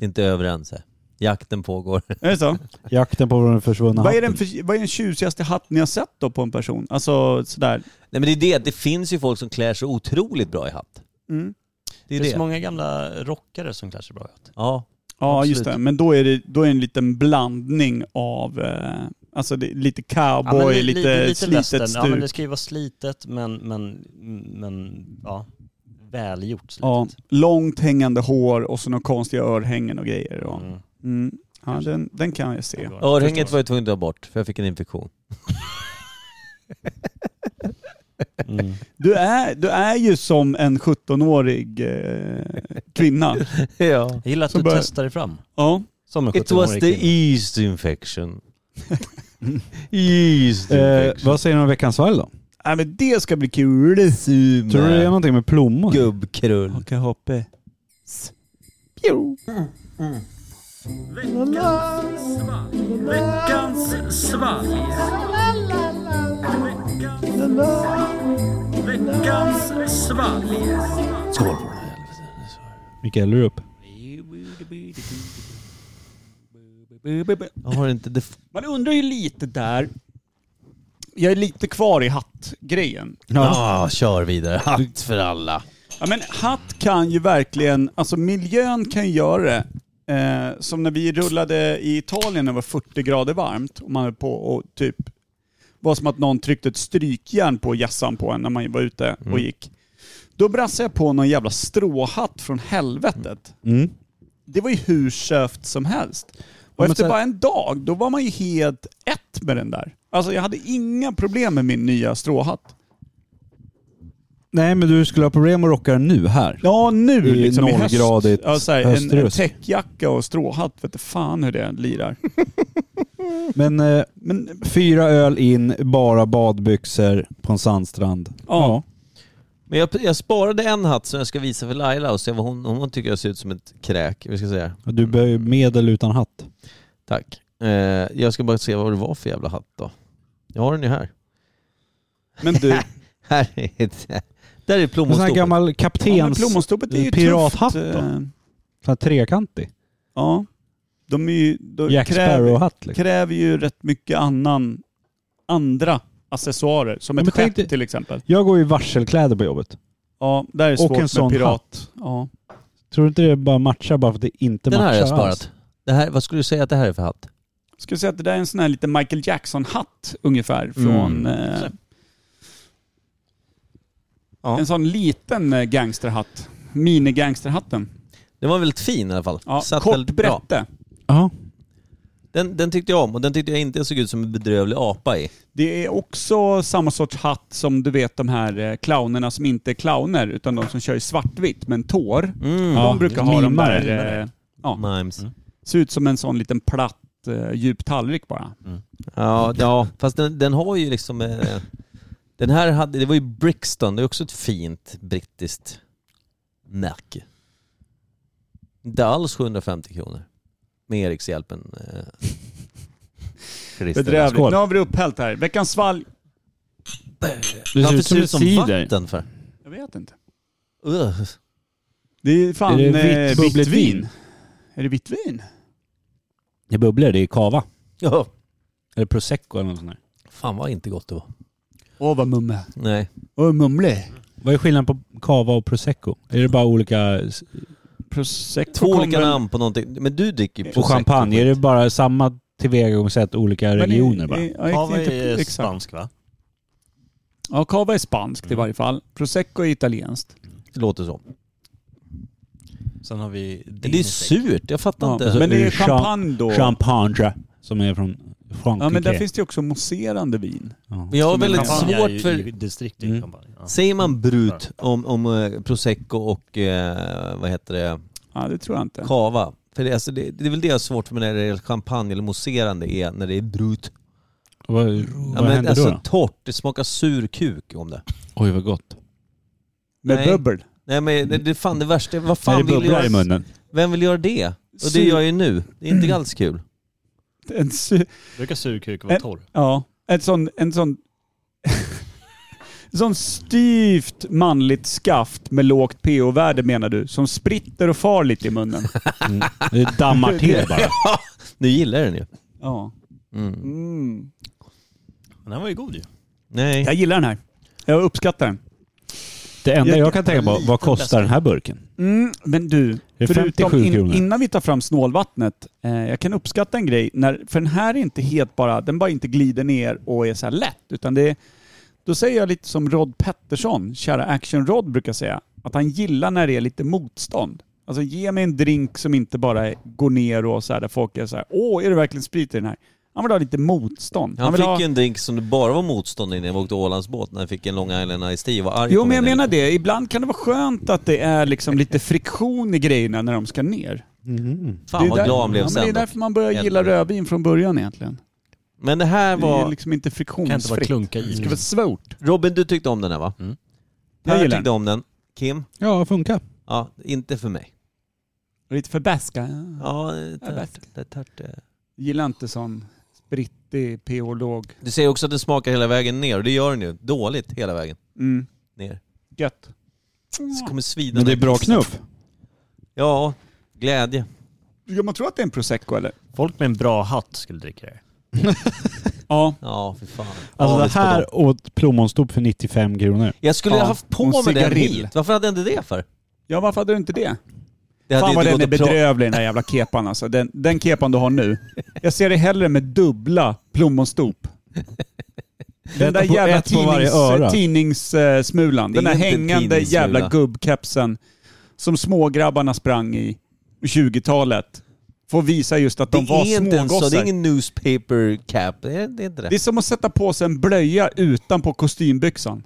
Speaker 2: Inte överens här. Jakten pågår. <laughs>
Speaker 3: Är det så?
Speaker 1: Jakten på den försvunna
Speaker 3: Vad är, den
Speaker 1: hatten.
Speaker 3: för, vad är den tjusigaste hatt ni har sett då på en person? Alltså sådär.
Speaker 2: Nej men det är det, att det finns ju folk som klär sig otroligt bra i hatt.
Speaker 3: Mm.
Speaker 2: Det
Speaker 4: Det
Speaker 2: är
Speaker 4: är
Speaker 2: det.
Speaker 4: så många gamla rockare som klär sig bra i hatt.
Speaker 2: Ja,
Speaker 3: Ja,
Speaker 2: Absolut.
Speaker 3: just det. Men då är det, då är det en liten blandning av eh, alltså det, lite
Speaker 4: Ja, men
Speaker 3: cowboy,
Speaker 4: li-
Speaker 3: lite,
Speaker 4: li-
Speaker 3: slitet
Speaker 4: western.
Speaker 3: stuk.
Speaker 4: Ja, men det ska ju vara slitet, men, men, men ja, välgjort slitet.
Speaker 3: Ja, långt hängande hår och så några konstiga örhängen och grejer. Och,
Speaker 4: Mm.
Speaker 3: mm. ja, den, den kan jag se.
Speaker 2: örhänget var jag tvungen att ta bort för jag fick en infektion.
Speaker 4: Mm.
Speaker 3: Du är, du är ju som en 17-årig eh,
Speaker 4: <laughs>
Speaker 3: kvinna.
Speaker 2: ja.
Speaker 4: Jag gillar att
Speaker 3: Så
Speaker 4: du
Speaker 3: börjar-
Speaker 4: testar dig fram.
Speaker 3: Ja.
Speaker 4: Som en
Speaker 2: It was
Speaker 4: 17-årig
Speaker 2: the
Speaker 4: kvinna.
Speaker 2: yeast infection. <laughs>
Speaker 1: <laughs>
Speaker 2: yeast
Speaker 1: Eh,
Speaker 2: infection.
Speaker 1: vad säger du om veckans svalg då?
Speaker 3: Nej, men det ska bli kul.
Speaker 2: Suma.
Speaker 1: Tror du det är någonting med plommon?
Speaker 2: Gubbkrull.
Speaker 3: Haka hoppe.
Speaker 1: Mikael, är du upp?
Speaker 2: Jag har inte det.
Speaker 3: Man undrar ju lite där. Jag är lite kvar i hattgrejen.
Speaker 2: Ah, kör vidare. Hatt för alla.
Speaker 3: Ja, men hatt kan ju verkligen, alltså miljön kan ju göra det. Eh, som när vi rullade i Italien när det var 40 grader varmt och man höll på och typ var som att någon tryckte ett strykjärn på hjässan på en när man var ute och gick. Då brassade jag på någon jävla stråhatt från helvetet.
Speaker 1: Mm.
Speaker 3: Det var ju hur köft som helst. Och
Speaker 1: men
Speaker 3: efter
Speaker 1: så-
Speaker 3: bara en dag, då var man ju helt ett med den där. Alltså jag hade inga problem med min nya stråhatt.
Speaker 1: Nej, men du skulle ha problem att rocka den nu här.
Speaker 3: Ja, nu
Speaker 1: I
Speaker 3: liksom i höst.
Speaker 1: nollgradigt
Speaker 3: ja, så här, en, en
Speaker 1: höstrusk.
Speaker 3: täckjacka och stråhatt. Vet du fan hur det lirar.
Speaker 1: Men, eh, men fyra öl in, bara badbyxor på en sandstrand.
Speaker 3: Ja.
Speaker 2: Men jag, jag sparade en hatt som jag ska visa för Laila och se vad hon, hon tycker jag ser ut som ett kräk. Vi ska säga.
Speaker 1: Du behöver medel utan hatt.
Speaker 2: Tack. Eh, jag ska bara se vad det var för jävla hatt då. Jag har den ju här. <laughs>
Speaker 1: <laughs>
Speaker 3: Men du,
Speaker 2: Här är det. Där är
Speaker 1: En sån här
Speaker 2: plommonstopet.
Speaker 1: gammal
Speaker 3: ja, men
Speaker 1: kaptens...
Speaker 3: plommonstoppet är ju
Speaker 1: Pirathatt
Speaker 3: tufft,
Speaker 1: då?
Speaker 3: eh,
Speaker 1: sån här trekantig.
Speaker 3: Ja. De är ju... De
Speaker 1: Jack
Speaker 3: kräver,
Speaker 1: Sparrow-hatt liksom.
Speaker 3: kräver ju rätt mycket annan, andra accessoarer. Som
Speaker 1: Ja, men
Speaker 3: ett
Speaker 1: tänk
Speaker 3: skepp
Speaker 1: dig-
Speaker 3: till exempel.
Speaker 1: Jag går ju i varselkläder på jobbet.
Speaker 3: Ja, där är det
Speaker 1: Och
Speaker 3: svårt
Speaker 1: en sån
Speaker 3: med pirat.
Speaker 1: hatt.
Speaker 3: Ja.
Speaker 1: Tror du inte det bara matchar bara för att det inte
Speaker 2: Den
Speaker 1: matchar
Speaker 2: här har jag
Speaker 1: alls?
Speaker 2: sparat. Det här, vad skulle du säga att det här är för hatt?
Speaker 3: Skulle säga att det där är en sån här lite Michael Jackson-hatt
Speaker 1: Mm.
Speaker 3: ungefär. Från... Eh,
Speaker 2: Ja.
Speaker 3: En sån liten eh, gangsterhatt. Minigangsterhatten.
Speaker 2: Den var väldigt fin i alla fall.
Speaker 3: Ja,
Speaker 2: Satt
Speaker 3: kort
Speaker 2: väldigt bra.
Speaker 3: brette.
Speaker 1: Ja.
Speaker 2: Den, den tyckte jag om och den tyckte jag inte såg ut som en bedrövlig apa i.
Speaker 3: Det är också samma sorts hatt som du vet de här eh, clownerna som inte är clowner utan de som kör i svartvitt men tår.
Speaker 2: Mm.
Speaker 3: De brukar ha de
Speaker 1: mimare.
Speaker 3: där... Eh, ja,
Speaker 2: Mimes.
Speaker 3: ser ut som en sån liten platt eh, djup tallrik bara.
Speaker 2: Ja, ja, fast den, den har ju liksom... Eh, den här hade, det var ju Brixton, det är också ett fint brittiskt märke. Inte alls 750 kronor. Med Erikshjälpen. Eh, Christer.
Speaker 3: Bedrövligt.
Speaker 1: skål.
Speaker 3: Nu har vi det upphällt här. Veckans svalg.
Speaker 1: Det ser
Speaker 2: Varför
Speaker 1: ut som,
Speaker 2: ser det ut som
Speaker 1: cider.
Speaker 2: vatten för?
Speaker 3: Jag vet inte.
Speaker 2: Ugh.
Speaker 3: Det är fan
Speaker 1: Är det
Speaker 3: eh,
Speaker 1: vitt bubbligt vin?
Speaker 3: vin. Är det vitt vin?
Speaker 1: Det bubblar, det är kava.
Speaker 2: Ja.
Speaker 1: Eller prosecco eller något sånt där.
Speaker 2: Fan vad inte gott det var.
Speaker 3: Åh vad mumme.
Speaker 2: Nej.
Speaker 3: Åh mumlig.
Speaker 1: Vad är skillnaden på kava och prosecco? Är det bara olika...
Speaker 3: Prosecco
Speaker 2: Två olika
Speaker 3: kommer-
Speaker 2: namn på någonting. Men du dricker ju
Speaker 1: Och
Speaker 2: prosecco.
Speaker 1: champagne, är det bara samma tillvägagångssätt, olika
Speaker 3: Men i-
Speaker 1: regioner bara?
Speaker 3: i- ja,
Speaker 4: Kava
Speaker 3: inte-
Speaker 4: är
Speaker 3: exakt.
Speaker 4: spansk va?
Speaker 3: Ja, cava är spanskt i varje fall. Prosecco är italienskt.
Speaker 2: Det låter så.
Speaker 4: Sen har vi
Speaker 2: Men det är ju
Speaker 4: Dinesec.
Speaker 2: surt, jag fattar
Speaker 3: Ja,
Speaker 2: inte.
Speaker 1: alltså-
Speaker 3: men det är
Speaker 1: Champ-
Speaker 3: champagne då.
Speaker 1: Champagne, som är från Frankrike.
Speaker 3: Ja, men där finns det ju också mousserande vin.
Speaker 1: Ja.
Speaker 2: Men jag har
Speaker 3: Som en
Speaker 2: väldigt
Speaker 4: Champagne är ju
Speaker 2: svårt
Speaker 4: i
Speaker 2: för...
Speaker 4: distrikt
Speaker 1: Mm.
Speaker 4: i champagne. Ja.
Speaker 2: Säger man brut om, om eh, prosecco och eh, vad heter det,
Speaker 3: Ja, det tror jag inte.
Speaker 2: cava? För det, alltså, det, det är väl det jag har svårt för när det är champagne eller mousserande är när det är brut.
Speaker 1: Vad,
Speaker 2: Ja,
Speaker 1: vad
Speaker 2: men
Speaker 1: händer
Speaker 2: alltså
Speaker 1: då, då?
Speaker 2: torrt, det smakar sur kuk om det.
Speaker 1: Oj vad gott.
Speaker 3: Med
Speaker 2: Nej.
Speaker 3: bubbel.
Speaker 2: Nej men det, det är fan det värsta, vad
Speaker 1: När det
Speaker 2: fan vill
Speaker 1: bubblar i <laughs>
Speaker 2: göra,
Speaker 1: munnen.
Speaker 2: vem vill göra det? Och det
Speaker 3: Sur-
Speaker 2: gör jag ju nu, det är
Speaker 3: Mm.
Speaker 2: inte alls kul.
Speaker 3: En, sy-
Speaker 4: Brukar surkuk vara
Speaker 3: Ä-
Speaker 4: torr?
Speaker 3: ja, en sån... En sån <laughs> en sån styvt manligt skaft med lågt pH-värde menar du, som spritter och far lite
Speaker 2: <laughs>
Speaker 3: i munnen.
Speaker 1: Det dammar till bara.
Speaker 2: Nu gillar jag den ju.
Speaker 3: Ja.
Speaker 2: Mm.
Speaker 4: Men den var ju god ju.
Speaker 2: Nej.
Speaker 3: Jag gillar den här. Jag uppskattar den.
Speaker 1: Det enda jag
Speaker 3: Jag
Speaker 1: kan tänka på, vad kostar den här burken?
Speaker 3: Mm, men du,
Speaker 1: det 57 kronor?
Speaker 3: innan vi tar fram snålvattnet, eh, jag kan uppskatta en grej, när, för den här är inte helt bara, den bara inte glider ner och är så här lätt, utan det är, då säger jag lite som Rod Pettersson, kära Action-Rod brukar säga, att han gillar när det är lite motstånd. Alltså ge mig en drink som inte bara är- går ner och så här, där folk är så här, åh är det verkligen sprit i den här? Han vill ha lite motstånd.
Speaker 2: Han
Speaker 3: vill
Speaker 2: fick
Speaker 3: ha...
Speaker 2: ju en drink som det bara var motstånd i när jag åkte Ålandsbåt när jag fick en Long Island Ice Tea och var arg
Speaker 3: Jo
Speaker 2: på
Speaker 3: men
Speaker 2: mig
Speaker 3: jag
Speaker 2: när
Speaker 3: menar det, ibland kan det vara skönt att det är liksom lite friktion i grejerna när de ska ner.
Speaker 1: Mm.
Speaker 2: Fan vad
Speaker 3: där-
Speaker 2: glad han blev
Speaker 3: ja, men
Speaker 2: sen.
Speaker 3: Det är
Speaker 2: dock.
Speaker 3: därför man börjar gilla
Speaker 2: Helvete.
Speaker 3: rödvin från början egentligen.
Speaker 2: Men det här
Speaker 3: Det är
Speaker 2: var...
Speaker 3: liksom inte
Speaker 4: Kan inte bara
Speaker 3: friktionsfritt.
Speaker 4: klunka i.
Speaker 3: Det ska vara svårt.
Speaker 2: Robin, du tyckte om den här va?
Speaker 4: Mm.
Speaker 3: Jag
Speaker 2: Per
Speaker 3: gillar
Speaker 2: tyckte om den. Kim?
Speaker 1: Ja, funkar.
Speaker 2: Ja, inte för mig.
Speaker 3: Lite för bäska.
Speaker 2: Ja, det
Speaker 3: Ja,
Speaker 2: tört,
Speaker 3: bäst.
Speaker 2: det tört, eh.
Speaker 3: Gillar inte sån sprittig pH-låg.
Speaker 2: Du säger också att den smakar hela vägen ner och det gör den ju. Dåligt hela vägen
Speaker 3: Mm.
Speaker 2: ner.
Speaker 3: Gött.
Speaker 2: Så kommer svida
Speaker 1: Men det är
Speaker 2: ner.
Speaker 1: bra knuff.
Speaker 2: Ja, glädje.
Speaker 3: Ja, man tror att det är en prosecco eller?
Speaker 4: Folk med en bra hatt skulle dricka det.
Speaker 3: Ja.
Speaker 2: Ja, för fan.
Speaker 1: Alltså
Speaker 2: Avis
Speaker 1: det
Speaker 2: på dem.
Speaker 1: här åt plommonstop för 95 kronor.
Speaker 2: Jag skulle
Speaker 3: Ja,
Speaker 2: ha haft på
Speaker 3: och
Speaker 2: mig den
Speaker 3: cigarill.
Speaker 2: hit. Varför hade jag inte det för?
Speaker 3: Ja, varför hade du inte det?
Speaker 2: Det hade
Speaker 3: Fan
Speaker 2: ju
Speaker 3: vad
Speaker 2: inte
Speaker 3: den är
Speaker 2: gått att pra-
Speaker 3: bedrövlig den där jävla kepan alltså. Den, den kepan du har nu. Jag ser det hellre med dubbla
Speaker 1: <laughs>
Speaker 3: plommonstop. Den där
Speaker 1: Ett på-
Speaker 3: jävla
Speaker 1: ett på varje öra.
Speaker 3: tidningssmulan. Tidnings, eh, smulan.
Speaker 2: Det är
Speaker 3: den där
Speaker 2: inte
Speaker 3: hängande
Speaker 2: tidningssmula.
Speaker 3: jävla gubbkepsen som smågrabbarna sprang i på 20-talet. Får visa just att de
Speaker 2: Det
Speaker 3: var
Speaker 2: är inte ens så. Det
Speaker 3: smågossar.
Speaker 2: är ingen newspaper cap. Det är, det är inte det.
Speaker 3: Det är som att sätta på sig en blöja utanpå kostymbyxan.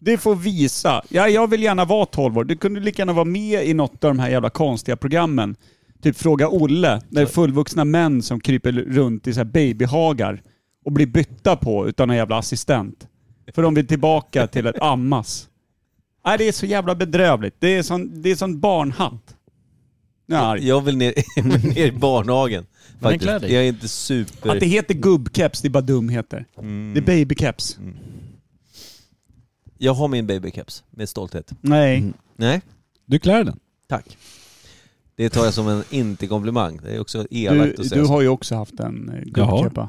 Speaker 3: Det får visa. Ja, jag vill gärna vara 12 år. Du kunde lika gärna vara med i något av de här jävla konstiga programmen. Typ Fråga Olle, där det är fullvuxna män som kryper runt i så här babyhagar och blir bytta på utan en jävla assistent. För de vill tillbaka till ett ammas. Nej, det är så jävla bedrövligt. Det är sån, det är sån barnhatt. Jag är arg.
Speaker 2: Jag vill ner, jag
Speaker 3: Mm.
Speaker 2: vill ner i <laughs> barnagen. Faktiskt.
Speaker 4: klär
Speaker 2: Jag
Speaker 4: dig.
Speaker 2: är inte super...
Speaker 3: Att det heter gubbkeps, det är bara dumheter. Det är babykeps.
Speaker 2: Jag har min babycaps med stolthet.
Speaker 3: Nej.
Speaker 2: Nej,
Speaker 1: Du klär den.
Speaker 2: tack. Det tar jag som en inte-komplimang. Det är också
Speaker 3: Du,
Speaker 2: elakt att säga
Speaker 3: du
Speaker 2: så.
Speaker 3: har ju också haft en eh,
Speaker 1: Jaha.
Speaker 3: gubbkepa.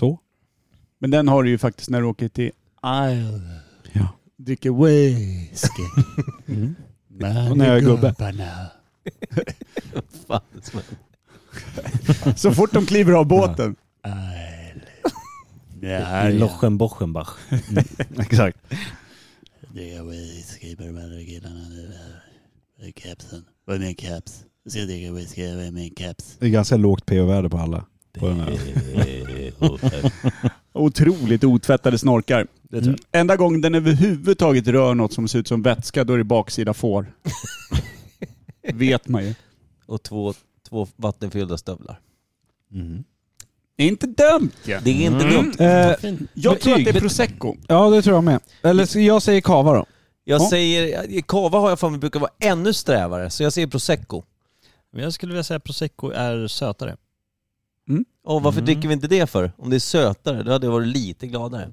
Speaker 1: Så.
Speaker 3: Men den har du ju faktiskt när du åker till <laughs> Isle.
Speaker 1: Ja.
Speaker 3: Dricker whisky.
Speaker 1: Och när jag är gubbe.
Speaker 2: Fan, det smäller.
Speaker 3: Så fort de kliver av båten.
Speaker 4: Det här är Lochen Bochenbach.
Speaker 1: <laughs> Exakt.
Speaker 8: Det är whisky på de andra killarna nu. Vad är kepsen? Vad är min keps? Jag ska dricka whisky, vad är min
Speaker 4: <laughs>
Speaker 8: keps?
Speaker 1: Det är ganska lågt pH-värde på alla. På den
Speaker 4: Eh,
Speaker 1: här.
Speaker 4: oh,
Speaker 3: Otroligt otvättade snorkar. Mm. Enda gången den överhuvudtaget rör något som ser ut som vätska, då är det
Speaker 2: <laughs>
Speaker 3: baksida får. Vet man ju.
Speaker 2: Och två, två vattenfyllda stövlar.
Speaker 1: Mm.
Speaker 3: Det är inte dumt ju.
Speaker 2: Det är inte
Speaker 3: Mm.
Speaker 2: dumt.
Speaker 1: Eh,
Speaker 3: Jag tror att
Speaker 1: Betyg.
Speaker 3: det är prosecco.
Speaker 1: ja det tror jag med. Eller så- jag säger kava då.
Speaker 2: Jag
Speaker 1: Ja.
Speaker 2: säger... Kava har jag för mig brukar vara ännu strävare, så jag säger prosecco.
Speaker 4: Men jag skulle vilja säga att prosecco är sötare.
Speaker 2: Och varför
Speaker 4: Mm.
Speaker 2: dricker vi inte det för? Om det är sötare, då hade jag varit lite gladare.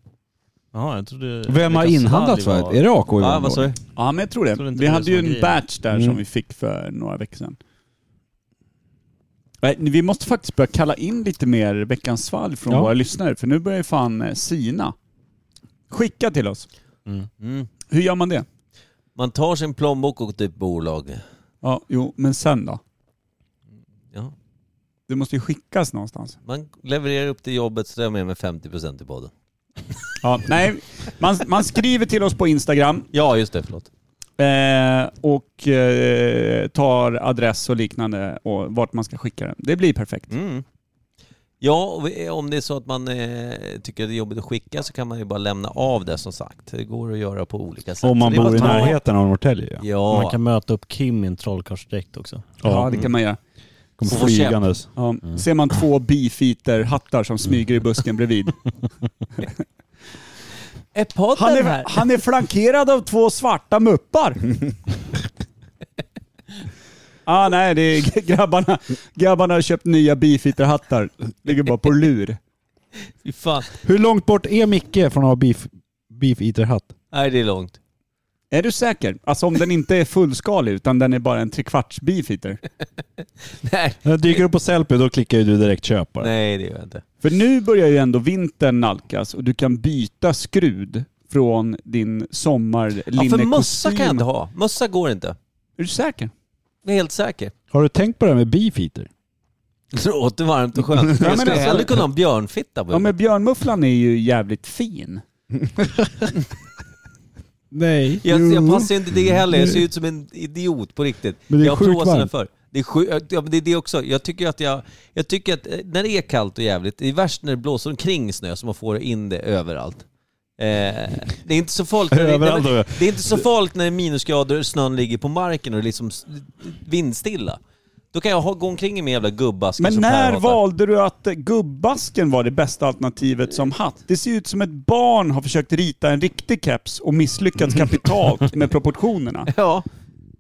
Speaker 4: Jaha, jag trodde...
Speaker 1: Vem har
Speaker 4: Lucas
Speaker 1: inhandlat
Speaker 4: Sally
Speaker 1: svaret?
Speaker 4: var-
Speaker 1: Är det AK
Speaker 2: Ja, vad sa
Speaker 1: Johan?
Speaker 2: du?
Speaker 3: Ja, men jag tror det.
Speaker 4: Tror du inte
Speaker 3: vi
Speaker 4: det är
Speaker 3: hade
Speaker 4: som
Speaker 3: ju
Speaker 4: är
Speaker 3: en
Speaker 4: grejen?
Speaker 3: batch där
Speaker 1: Mm.
Speaker 3: som vi fick för några veckor sedan. Nej, Vi måste faktiskt börja kalla in lite mer veckans svalg från
Speaker 1: Ja.
Speaker 3: våra lyssnare, för nu börjar ju fan eh, sina. Skicka till oss.
Speaker 2: Mm.
Speaker 3: Hur gör man det?
Speaker 2: Man tar sin plånbok och typ bolag.
Speaker 3: Ja, jo, men sen då?
Speaker 2: Ja.
Speaker 3: Det måste ju skickas någonstans.
Speaker 2: Man levererar upp till jobbet så det är med mig 50% i podden.
Speaker 3: Ja, nej, man, man skriver till oss på Instagram
Speaker 2: Ja, just det. Förlåt.
Speaker 3: eh, och eh, tar adress och liknande och vart man ska skicka den. Det blir perfekt.
Speaker 2: Mm. Ja, och vi- om det är så att man eh, tycker att det är jobbigt att skicka så kan man ju bara lämna av det som sagt. Det går att göra på olika sätt.
Speaker 1: Om man
Speaker 2: Så det är
Speaker 1: bor i
Speaker 2: bara att ta-
Speaker 1: närheten av Norrtälje ja.
Speaker 2: Ja.
Speaker 4: Man kan möta upp Kim i en trollkarlsdräkt också.
Speaker 3: Ja, det kan man göra.
Speaker 2: Får
Speaker 1: Kommer
Speaker 2: vår
Speaker 1: flygandes.
Speaker 3: Ja, Ser man två beefeater-hattar som smyger i busken
Speaker 2: <laughs>
Speaker 3: bredvid.
Speaker 2: Är podden
Speaker 3: Han är,
Speaker 2: här?
Speaker 3: han är flankerad av två
Speaker 2: <laughs>
Speaker 3: svarta muppar. ah, nej, det är grabbarna, grabbarna har köpt nya beefeater-hattar. Ligger bara på lur.
Speaker 2: Fy fan.
Speaker 1: Hur långt bort är Micke från att ha beef, beef eater-hatt?
Speaker 2: Nej, det är långt.
Speaker 3: Är du säker? Alltså om den inte är fullskalig utan den är bara en trekvarts beefeater.
Speaker 2: Nej,
Speaker 1: När jag dyker upp på Sellpy då klickar ju du direkt köp bara.
Speaker 2: nej det gör jag inte.
Speaker 3: För nu börjar ju ändå vintern nalkas och du kan byta skrud från din
Speaker 2: Ja, för
Speaker 3: sommarlinnekostym.
Speaker 2: mössa kan jag inte ha. Mössa går inte.
Speaker 3: Är du säker?
Speaker 2: Jag är helt säker.
Speaker 1: Har du tänkt på det här med beef eater?
Speaker 2: <laughs> Det låter varmt och skönt.
Speaker 3: men
Speaker 2: Jag skulle
Speaker 3: alltså-
Speaker 2: hellre kunna ha en björnfitta på
Speaker 3: Ja,
Speaker 2: huvudet.
Speaker 3: men björnmufflan är ju jävligt fin.
Speaker 1: Nej.
Speaker 2: Jag, jag passar ju inte det heller. Jag ser ut som en idiot på riktigt.
Speaker 1: Men det är
Speaker 2: jag har
Speaker 1: sjukt
Speaker 2: flåsarna
Speaker 1: varmt.
Speaker 2: för. Det är, sju, ja, men det är det också. Jag tycker att jag... Jag tycker att eh, när det är kallt och jävligt, det är värst när det blåser omkring snö så man får in det överallt. Eh, det är inte så farligt när det,
Speaker 1: Överallt,
Speaker 2: nej, men
Speaker 1: ja.
Speaker 2: det är inte så farligt när det är minusgrader, snön ligger på marken och det är liksom s- vindstilla. Då kan jag ha, gå omkring i med jävla gubbaskar
Speaker 3: Men
Speaker 2: som Per
Speaker 3: när
Speaker 2: hatar.
Speaker 3: valde du att eh, gubbasken var det bästa alternativet som hatt? Det ser ju ut som ett barn har försökt rita en riktig keps och misslyckats
Speaker 2: Mm. <laughs>
Speaker 3: kapitalt med proportionerna.
Speaker 2: <laughs> Ja,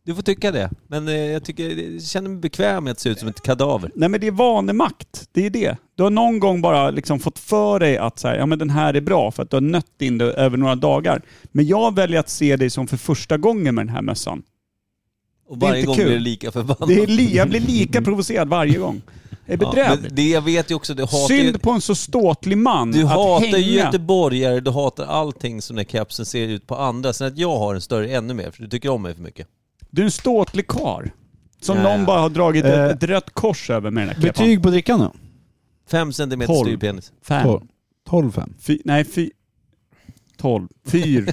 Speaker 2: du får tycka det. Men eh, jag, tycker, jag känner mig bekväm med att se ut som ett kadaver.
Speaker 3: Nej men det är vanemakt, det är det. Du har någon gång bara liksom fått för dig att så här, ja, men den här är bra för att du har nött in det över några dagar. Men jag väljer att se dig som för första gången med den här mössan.
Speaker 2: Och
Speaker 3: Det är
Speaker 2: varje
Speaker 3: inte
Speaker 2: gång
Speaker 3: kul.
Speaker 2: blir det lika förbannat.
Speaker 3: Det är li, jag
Speaker 2: <laughs>
Speaker 3: blir lika provocerad varje gång. Det är
Speaker 2: Ja,
Speaker 3: bedrövligt.
Speaker 2: men det, jag vet ju också, du hatar ju,
Speaker 3: Synd på en så ståtlig man
Speaker 2: du
Speaker 3: att
Speaker 2: hatar ju
Speaker 3: hänga.
Speaker 2: göteborgare, du hatar allting som den här kepsen ser ut på andra. Sen att jag har en större ännu mer, för du tycker om mig för mycket.
Speaker 3: Du är en ståtlig kar Som
Speaker 2: Ja,
Speaker 3: någon
Speaker 2: ja.
Speaker 3: bara har dragit
Speaker 1: Eh,
Speaker 3: ett, ett rött kors över med den här kepan.
Speaker 1: Betyg på drickan då?
Speaker 2: Fem centimeter
Speaker 1: Tolv.
Speaker 2: styrpenis.
Speaker 3: Fan.
Speaker 1: 12-5.
Speaker 3: Fy, nej, fy... Tolv. Fyr.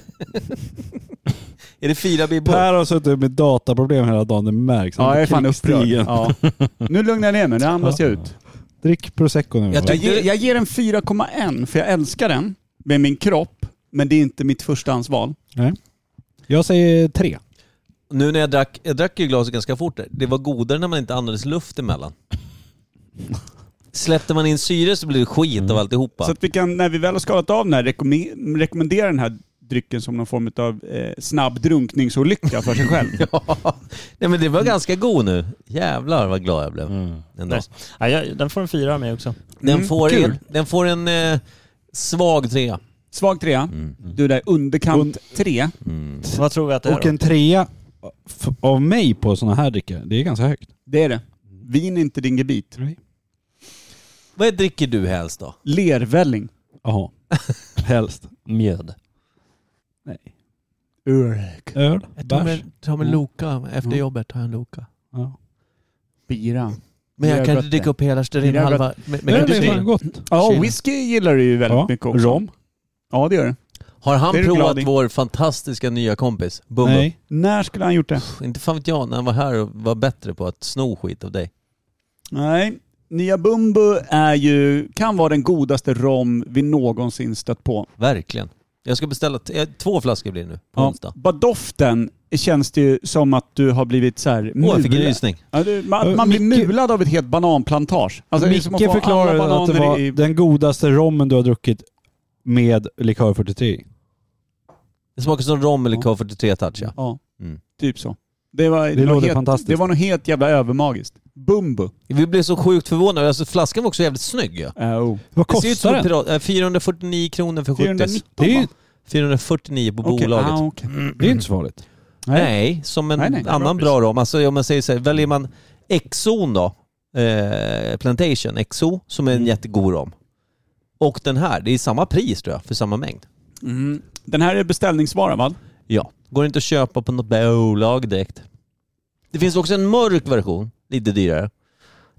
Speaker 2: Är det fyra bibbor?
Speaker 1: Per har suttit med dataproblem hela dagen, det märks. Han
Speaker 3: ja, jag är fan upprörd.
Speaker 1: krigsstigen.
Speaker 3: Ja. Nu lugnar jag ner mig, nu andas jag ut.
Speaker 1: Drick prosecco nu.
Speaker 2: Jag
Speaker 1: va?
Speaker 3: Jag
Speaker 2: tycker-
Speaker 3: ger, jag ger en 4,1 för jag älskar den med min kropp, men det är inte mitt förstahandsval.
Speaker 1: Nej. Jag säger tre.
Speaker 2: Nu när jag drack, jag drack ju glaset ganska fort där. Det var godare när man inte andades luft
Speaker 3: <laughs>
Speaker 2: emellan. Släppte man in syre så blir det skit av alltihopa.
Speaker 3: Mm. Så att vi kan, när vi väl har skalat av den här, rekomme- rekommendera den här drycken som någon form av eh, snabb drunkningsolycka för sig själv.
Speaker 2: <laughs> Ja. Nej men det var ganska god nu. Jävlar vad glad jag blev.
Speaker 4: Mm.
Speaker 1: Mm.
Speaker 2: Ändå.
Speaker 4: Nice. Ja, jag, den får en fyra av mig också.
Speaker 2: Den,
Speaker 3: Mm,
Speaker 2: får
Speaker 3: kul.
Speaker 2: en, den får en eh, svag trea.
Speaker 3: Svag trea. Du där underkant tre.
Speaker 4: Vad tror vi att det är
Speaker 1: Och
Speaker 4: då?
Speaker 1: en trea f- av mig på sådana här drycker, det är ganska högt.
Speaker 3: Det är det. Vin är inte din gebit.
Speaker 2: Vad dricker du helst då?
Speaker 3: Lervälling.
Speaker 1: Jaha. Helst.
Speaker 4: Mjöd.
Speaker 1: Nej.
Speaker 3: Urk.
Speaker 1: Öl? Bärs?
Speaker 2: tar en Loka. Efter jobbet tar jag en Loka.
Speaker 1: Ja.
Speaker 3: Bira.
Speaker 2: Men jag
Speaker 3: Det är
Speaker 2: kan
Speaker 3: gott
Speaker 2: inte dricka
Speaker 3: det.
Speaker 2: upp hela stearinhalva. med- med
Speaker 1: Öl är
Speaker 2: kaffe.
Speaker 1: fan gott.
Speaker 3: Ja,
Speaker 2: Tjena.
Speaker 3: whisky gillar du ju väldigt mycket också.
Speaker 1: Rom?
Speaker 3: Ja, det gör du.
Speaker 2: Har han
Speaker 3: Det är du glad
Speaker 2: provat
Speaker 3: i.
Speaker 2: vår fantastiska nya kompis? Bumbo?
Speaker 1: Nej.
Speaker 3: När skulle han gjort det?
Speaker 2: Pff, Inte fan vet jag när han var här och var bättre på att sno skit av dig.
Speaker 3: Nej. Nya Bumbo är ju, kan vara den godaste rom vi någonsin stött på.
Speaker 2: Verkligen. Jag ska beställa t- eh, två flaskor blir det nu på onsdag.
Speaker 3: Bara doften känns det ju som att du har blivit så här
Speaker 2: Åh, jag fick en
Speaker 3: mulad.
Speaker 2: rysning.
Speaker 3: Ja, du, man,
Speaker 1: Eh,
Speaker 3: man blir
Speaker 1: Micke-
Speaker 3: mulad av ett helt bananplantage. Alltså, det är som att
Speaker 1: Micke
Speaker 3: få alla
Speaker 1: förklarade att det
Speaker 3: bananer
Speaker 1: var
Speaker 3: i-
Speaker 1: den godaste rommen du har druckit med likör 43
Speaker 2: Det smakar som rom eller K43 touch ja.
Speaker 3: Ja,
Speaker 2: Mm.
Speaker 3: typ så. Det var, det,
Speaker 1: låter
Speaker 3: helt,
Speaker 1: fantastiskt.
Speaker 3: Det var nog helt jävla övermagiskt. Bumbo.
Speaker 2: Vi blev så sjukt förvånade. Alltså, flaskan var också jävligt snygg ja.
Speaker 1: Äh,
Speaker 3: Oh.
Speaker 1: Vad
Speaker 2: Det ser ut som
Speaker 1: kostar
Speaker 2: en
Speaker 1: den?
Speaker 2: pirat. eh, 449 kronor för 70.
Speaker 3: 419
Speaker 1: Det är ju
Speaker 3: va?
Speaker 2: 449 på
Speaker 3: Okej,
Speaker 2: bolaget.
Speaker 3: ah, okej.
Speaker 1: det är inte så farligt.
Speaker 2: Nej, som en
Speaker 3: Nej, nej, det är
Speaker 2: annan
Speaker 3: bra
Speaker 2: bra rom. Alltså om man säger så här, väljer man X-zon då, eh, Plantation XO som
Speaker 3: Mm.
Speaker 2: är en jättegod rom. Och den här, det är samma pris tror jag, för samma mängd.
Speaker 3: Mm. Den här är beställningsvara va?
Speaker 2: Ja. Går inte att köpa på något bolag direkt. Det finns också en mörk version, lite dyrare.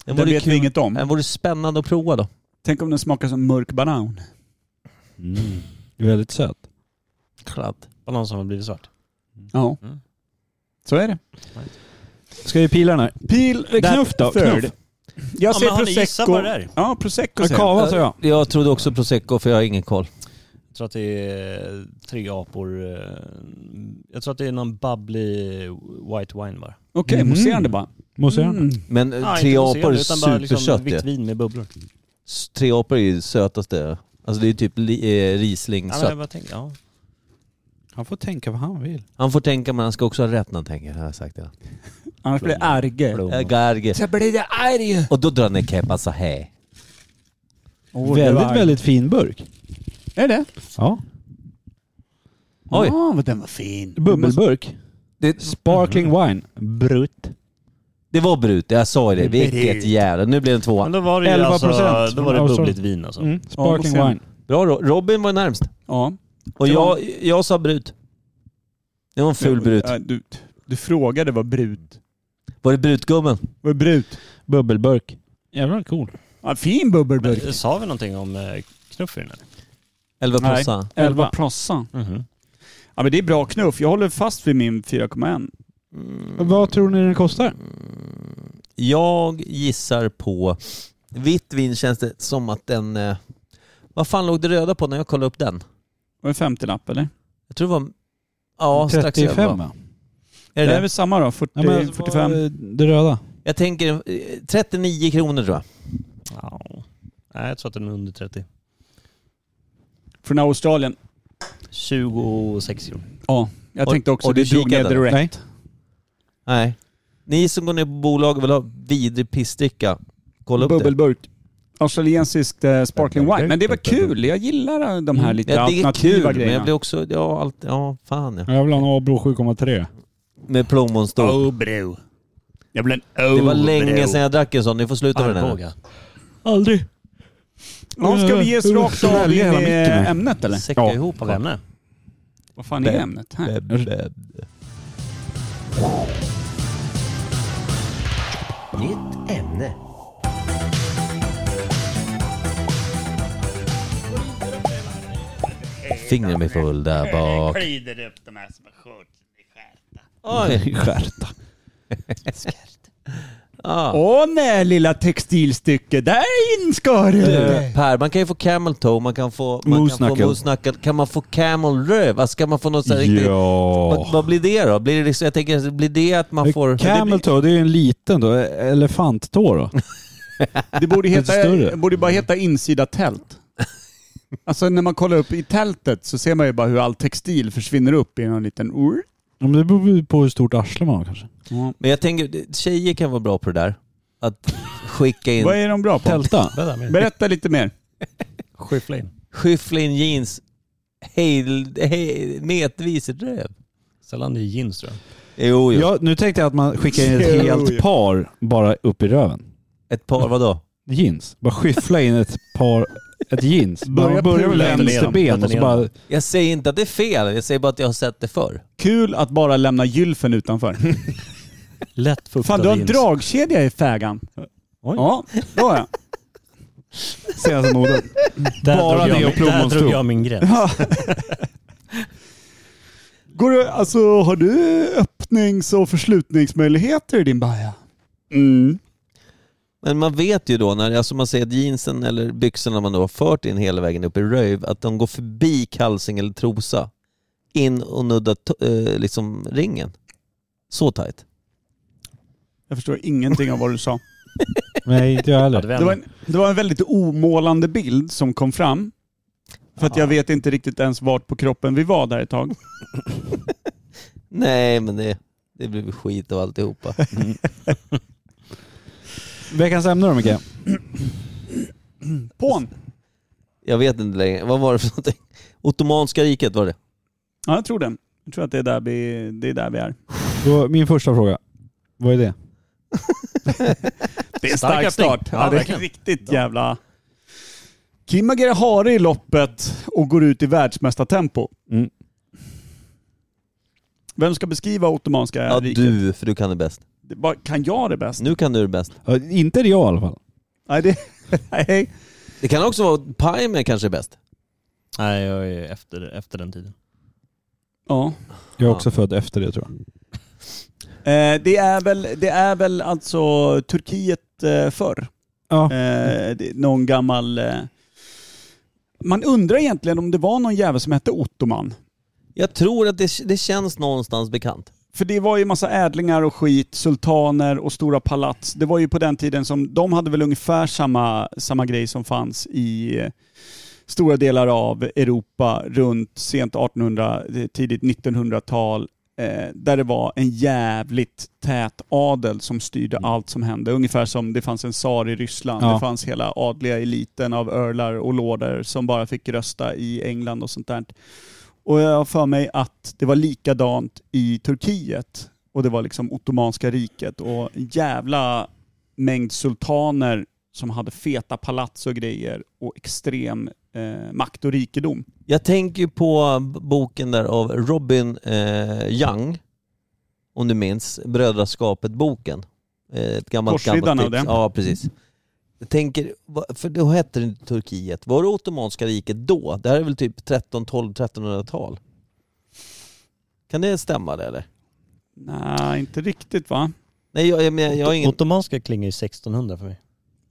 Speaker 3: Den, vet vi inget om.
Speaker 2: Den vore spännande att prova då.
Speaker 3: Tänk om den smakar som mörk banan.
Speaker 1: Mm. Det är väldigt söt.
Speaker 2: Kladd.
Speaker 4: Banan som har blivit svart.
Speaker 3: Ja.
Speaker 4: Mm.
Speaker 3: Så är det.
Speaker 1: Ska vi pila den här?
Speaker 3: Pil, eh, knuff då.
Speaker 1: third.
Speaker 3: Knuff. Jag
Speaker 4: Ja,
Speaker 3: ser
Speaker 4: men har ni gissat
Speaker 3: prosecco.
Speaker 4: vad det är?
Speaker 3: Ja, prosecco
Speaker 1: Ja,
Speaker 3: säger jag.
Speaker 1: Cava sa jag.
Speaker 2: Jag trodde också prosecco för jag har ingen koll.
Speaker 4: Jag tror att det är eh, tre apor. eh, Jag tror att det är någon bubbly eh, white wine bara.
Speaker 3: Okej,
Speaker 1: Mm.
Speaker 3: mousserande bara. Mm.
Speaker 1: Mousserande.
Speaker 2: Men eh, tre apor är
Speaker 3: liksom
Speaker 2: supersött
Speaker 4: vitt
Speaker 2: det.
Speaker 4: vin med bubblor.
Speaker 2: S- Tre apor är ju sötaste. Alltså det är typ li, eh, riesling
Speaker 4: Ja, men
Speaker 2: sött.
Speaker 4: jag bara tänkte, ja.
Speaker 1: Han får tänka vad han vill.
Speaker 2: Han får tänka men han ska också ha rätt när han tänker, har jag sagt det.
Speaker 3: Annars blir det arge.
Speaker 2: Eh, Garge.
Speaker 3: Så blir det arg.
Speaker 2: Och då drar ni kepa så här.
Speaker 1: väldigt, väldigt fin burk.
Speaker 3: Är det?
Speaker 1: Ja.
Speaker 2: Oj.
Speaker 3: Ah, vad den var
Speaker 8: Vad fin.
Speaker 1: Bubbelburk. Sparkling
Speaker 2: Mm.
Speaker 1: wine. Brutt.
Speaker 2: Det var brut, jag sa ju det. Vilket jävla... Nu blir det en
Speaker 4: Men
Speaker 2: tvåa.
Speaker 4: då var det ju
Speaker 1: 11%
Speaker 4: alltså, då var det
Speaker 1: från
Speaker 4: bubbligt
Speaker 1: Australien.
Speaker 4: vin alltså.
Speaker 1: Mm. Sparkling
Speaker 3: Ja,
Speaker 1: wine.
Speaker 2: Bra Ro- Robin var närmst.
Speaker 3: Ja.
Speaker 2: Och
Speaker 3: Det var-
Speaker 2: jag, jag sa brut. Det var en ful brut.
Speaker 3: Ja, Du, du frågade vad brut...
Speaker 2: Var det brutgummen?
Speaker 3: Vad är brut?
Speaker 1: Bubbelburk. Jävlar cool.
Speaker 3: Ja, fin bubbelburk.
Speaker 4: Men, sa vi någonting om eh, knuff i den eller?
Speaker 2: Elva
Speaker 3: Nej.
Speaker 2: prossa.
Speaker 3: Elva prossa.
Speaker 2: Mhm.
Speaker 3: Ja men det är bra knuff. Jag håller fast vid min 4,1.
Speaker 1: Mm. Vad tror ni den kostar?
Speaker 2: Mm. Jag gissar på... Vitt vin känns det som att den... eh, Vad fan låg det röda på när jag kollade upp den?
Speaker 3: Och en 50-lapp eller?
Speaker 2: Jag tror det var... Ja, strax över.
Speaker 1: 35
Speaker 2: va?
Speaker 1: va?
Speaker 2: Är
Speaker 3: det
Speaker 2: det alltså,
Speaker 3: är
Speaker 2: det?
Speaker 3: väl samma då? 40,
Speaker 1: Ja, men,
Speaker 3: 45?
Speaker 1: vad- Det röda.
Speaker 2: Jag tänker eh, 39 kronor tror jag.
Speaker 4: Ja. Nej, jag tror att den är under 30.
Speaker 3: Från Australien?
Speaker 4: 26 kronor.
Speaker 3: Ja. Jag
Speaker 2: Och-
Speaker 3: tänkte också
Speaker 2: och
Speaker 3: du
Speaker 2: du
Speaker 3: drog ner
Speaker 2: kikade?
Speaker 3: det direkt.
Speaker 1: Nej.
Speaker 2: Nej. Ni som går ner på bolag och vill ha vidrig pissdricka, kolla upp det.
Speaker 3: Bubbelburk. Australiensisk eh, sparkling wine. Men det var kul. Jag gillar eh, de här lite
Speaker 2: Mm. Ja, det är
Speaker 3: alternativa
Speaker 2: kul, men jag
Speaker 3: grejerna.
Speaker 2: blir också... Ja, allt, ja fan ja.
Speaker 1: Jag vill ha en Abro 7,3.
Speaker 2: Med plommonstål.
Speaker 8: Oh, bro. Jag blev en oh,
Speaker 2: det var
Speaker 8: bro.
Speaker 2: länge sedan jag drack en sån. Ni får sluta med den här.
Speaker 4: Arboga.
Speaker 1: Aldrig.
Speaker 3: Ja, ska vi ge
Speaker 2: Mm.
Speaker 3: oss rakt av in
Speaker 1: Svälja hela
Speaker 3: i
Speaker 1: micken.
Speaker 3: ämnet eller?
Speaker 2: Säcka
Speaker 1: Ja.
Speaker 2: ihop
Speaker 4: Av ämne?
Speaker 3: Vad fan är ämnet här?
Speaker 2: Nytt ämne. Fingrarna är fulla bak.
Speaker 8: Glider upp de här som är skjortor. <laughs>
Speaker 2: Oj.
Speaker 1: Skärta.
Speaker 2: Ah.
Speaker 3: Åh nej lilla textilstycke, där in ska du!
Speaker 2: Eh, Per, man kan ju få camel toe, man kan få man
Speaker 1: Moose
Speaker 2: kan få
Speaker 1: knuckle.
Speaker 2: moose knuckle. Kan man få camel röv? Alltså kan man få något sånt här riktigt... Vad,
Speaker 1: Ja.
Speaker 2: vad blir det då? Blir det liksom, jag tänker, blir det att man får...
Speaker 1: Camel toe, det är ju en liten då. Elefanttå
Speaker 2: <laughs>
Speaker 1: då.
Speaker 3: Det borde,
Speaker 1: Lite
Speaker 3: heta,
Speaker 1: större.
Speaker 3: borde bara heta insida tält. Alltså när man kollar upp i tältet så ser man ju bara hur all textil försvinner upp i någon liten... ur.
Speaker 1: Ja, men det beror ju på hur stort arsle man har kanske.
Speaker 2: Men jag tänker, det- tjejer kan vara bra på det där. Att skicka
Speaker 3: Vad
Speaker 2: in,
Speaker 3: är de bra på?
Speaker 1: Tälta.
Speaker 4: Vänta, men-
Speaker 3: Berätta lite mer.
Speaker 4: Skyffla in.
Speaker 2: skyffla in jeans, hel, hel, metvis röv.
Speaker 4: Sällan det är jeans tror jag.
Speaker 2: Jo, jo.
Speaker 1: Ja, nu tänkte jag att man skickar in
Speaker 3: Jo,
Speaker 1: ett helt
Speaker 3: jo.
Speaker 1: par bara upp i röven.
Speaker 2: Ett par vadå?
Speaker 1: Jeans. Bara skyffla in ett par, ett jeans.
Speaker 3: Börja
Speaker 1: Börja, börja med
Speaker 3: pula
Speaker 4: den igenom,
Speaker 1: vänsterben
Speaker 4: den
Speaker 1: och så
Speaker 4: igenom.
Speaker 1: bara...
Speaker 2: Jag säger inte att det är fel, jag säger bara att jag har sett det förr.
Speaker 3: Kul att bara lämna gylfen utanför.
Speaker 4: Lätt fuktad
Speaker 3: Fan, du har en
Speaker 4: jeans.
Speaker 3: dragkedja i fägan.
Speaker 4: Oj.
Speaker 3: Ja, då ja.
Speaker 1: Senaste modet.
Speaker 4: Där
Speaker 1: bara
Speaker 4: drog jag
Speaker 1: det och
Speaker 4: min- Där
Speaker 1: plommonstro.
Speaker 4: drog jag min gräns.
Speaker 3: Går du, alltså, har du öppnings och förslutningsmöjligheter i din baja? Mm.
Speaker 2: Men man vet ju då, när alltså man ser att jeansen eller byxorna man då har fört in hela vägen upp i röv, att de går förbi kalsing eller trosa. In och nuddar to- eh, liksom ringen. Så tajt.
Speaker 3: Jag förstår ingenting av vad du sa.
Speaker 1: Nej, inte jag
Speaker 4: Hade
Speaker 1: heller.
Speaker 4: vi en-
Speaker 3: Det var, en, det var en väldigt omålande bild som kom fram. För att jag vet inte riktigt ens vart på kroppen vi var där ett tag.
Speaker 2: Nej men det, det blir väl skit av alltihopa.
Speaker 1: Veckans ämne då Micke?
Speaker 3: Pån!
Speaker 2: Jag vet inte längre, vad var det för någonting? Ottomanska riket var det.
Speaker 3: Ja, jag tror det. Jag tror att det är där vi, det är, där vi är.
Speaker 1: Då, min första fråga. Vad är det?
Speaker 3: Det är en
Speaker 4: Stark
Speaker 3: stark
Speaker 4: öppning.
Speaker 3: start.
Speaker 4: Ja,
Speaker 3: Ja, det är
Speaker 4: verkligen.
Speaker 3: riktigt jävla... Kim agerar hare i loppet och går ut i världsmästartempo.
Speaker 1: Mm.
Speaker 3: Vem ska beskriva Ottomanska
Speaker 2: Ja,
Speaker 3: riket?
Speaker 2: du, Mm. för du kan det bäst.
Speaker 3: Det- vad- Kan jag det bäst?
Speaker 2: Nu kan du det bäst.
Speaker 1: Ja, inte jag i alla fall.
Speaker 3: Nej, det... <laughs> Nej.
Speaker 2: Det kan också vara Pajmer kanske är bäst.
Speaker 4: Nej, jag är efter, efter den tiden.
Speaker 3: Ja.
Speaker 1: Jag är också född efter det tror jag.
Speaker 3: Eh, det, är väl, det är väl alltså Turkiet eh, förr.
Speaker 1: Ja.
Speaker 3: Eh, det, någon gammal... Eh... Man undrar egentligen om det var någon jävel som hette Ottoman.
Speaker 2: Jag tror att det, det känns någonstans bekant.
Speaker 3: För det var ju massa ädlingar och skit, sultaner och stora palats. Det var ju på den tiden som de hade väl ungefär samma, samma grej som fanns i eh, stora delar av Europa runt sent 1800, eh, tidigt 1900-tal. Eh, där det var en jävligt tät adel som styrde allt som hände. Ungefär som det fanns en tsar i Ryssland.
Speaker 1: Ja.
Speaker 3: Det fanns hela adliga eliten av örlar och lorder som bara fick rösta i England och sånt där. Och jag har för mig att det var likadant i Turkiet. Och det var liksom Ottomanska riket och en jävla mängd sultaner som hade feta palats och grejer och extrem eh, makt och rikedom.
Speaker 2: Jag tänker ju på b- boken där av Robin eh, Young, om du minns, Brödraskapet-boken. Eh, Ett gammalt,
Speaker 3: Korsriddarna
Speaker 2: gammalt
Speaker 3: och
Speaker 2: tips.
Speaker 3: det.
Speaker 2: Ja, precis. Jag tänker, va- för då hette det inte Turkiet. Var det Ottomanska riket då? Det här är väl typ 13, 12, 1300-tal? Kan det stämma det eller?
Speaker 3: Nej, inte riktigt va?
Speaker 2: Nej, jag, jag, jag, jag har ingen...
Speaker 4: Ottomanska klingar ju 1600 för mig.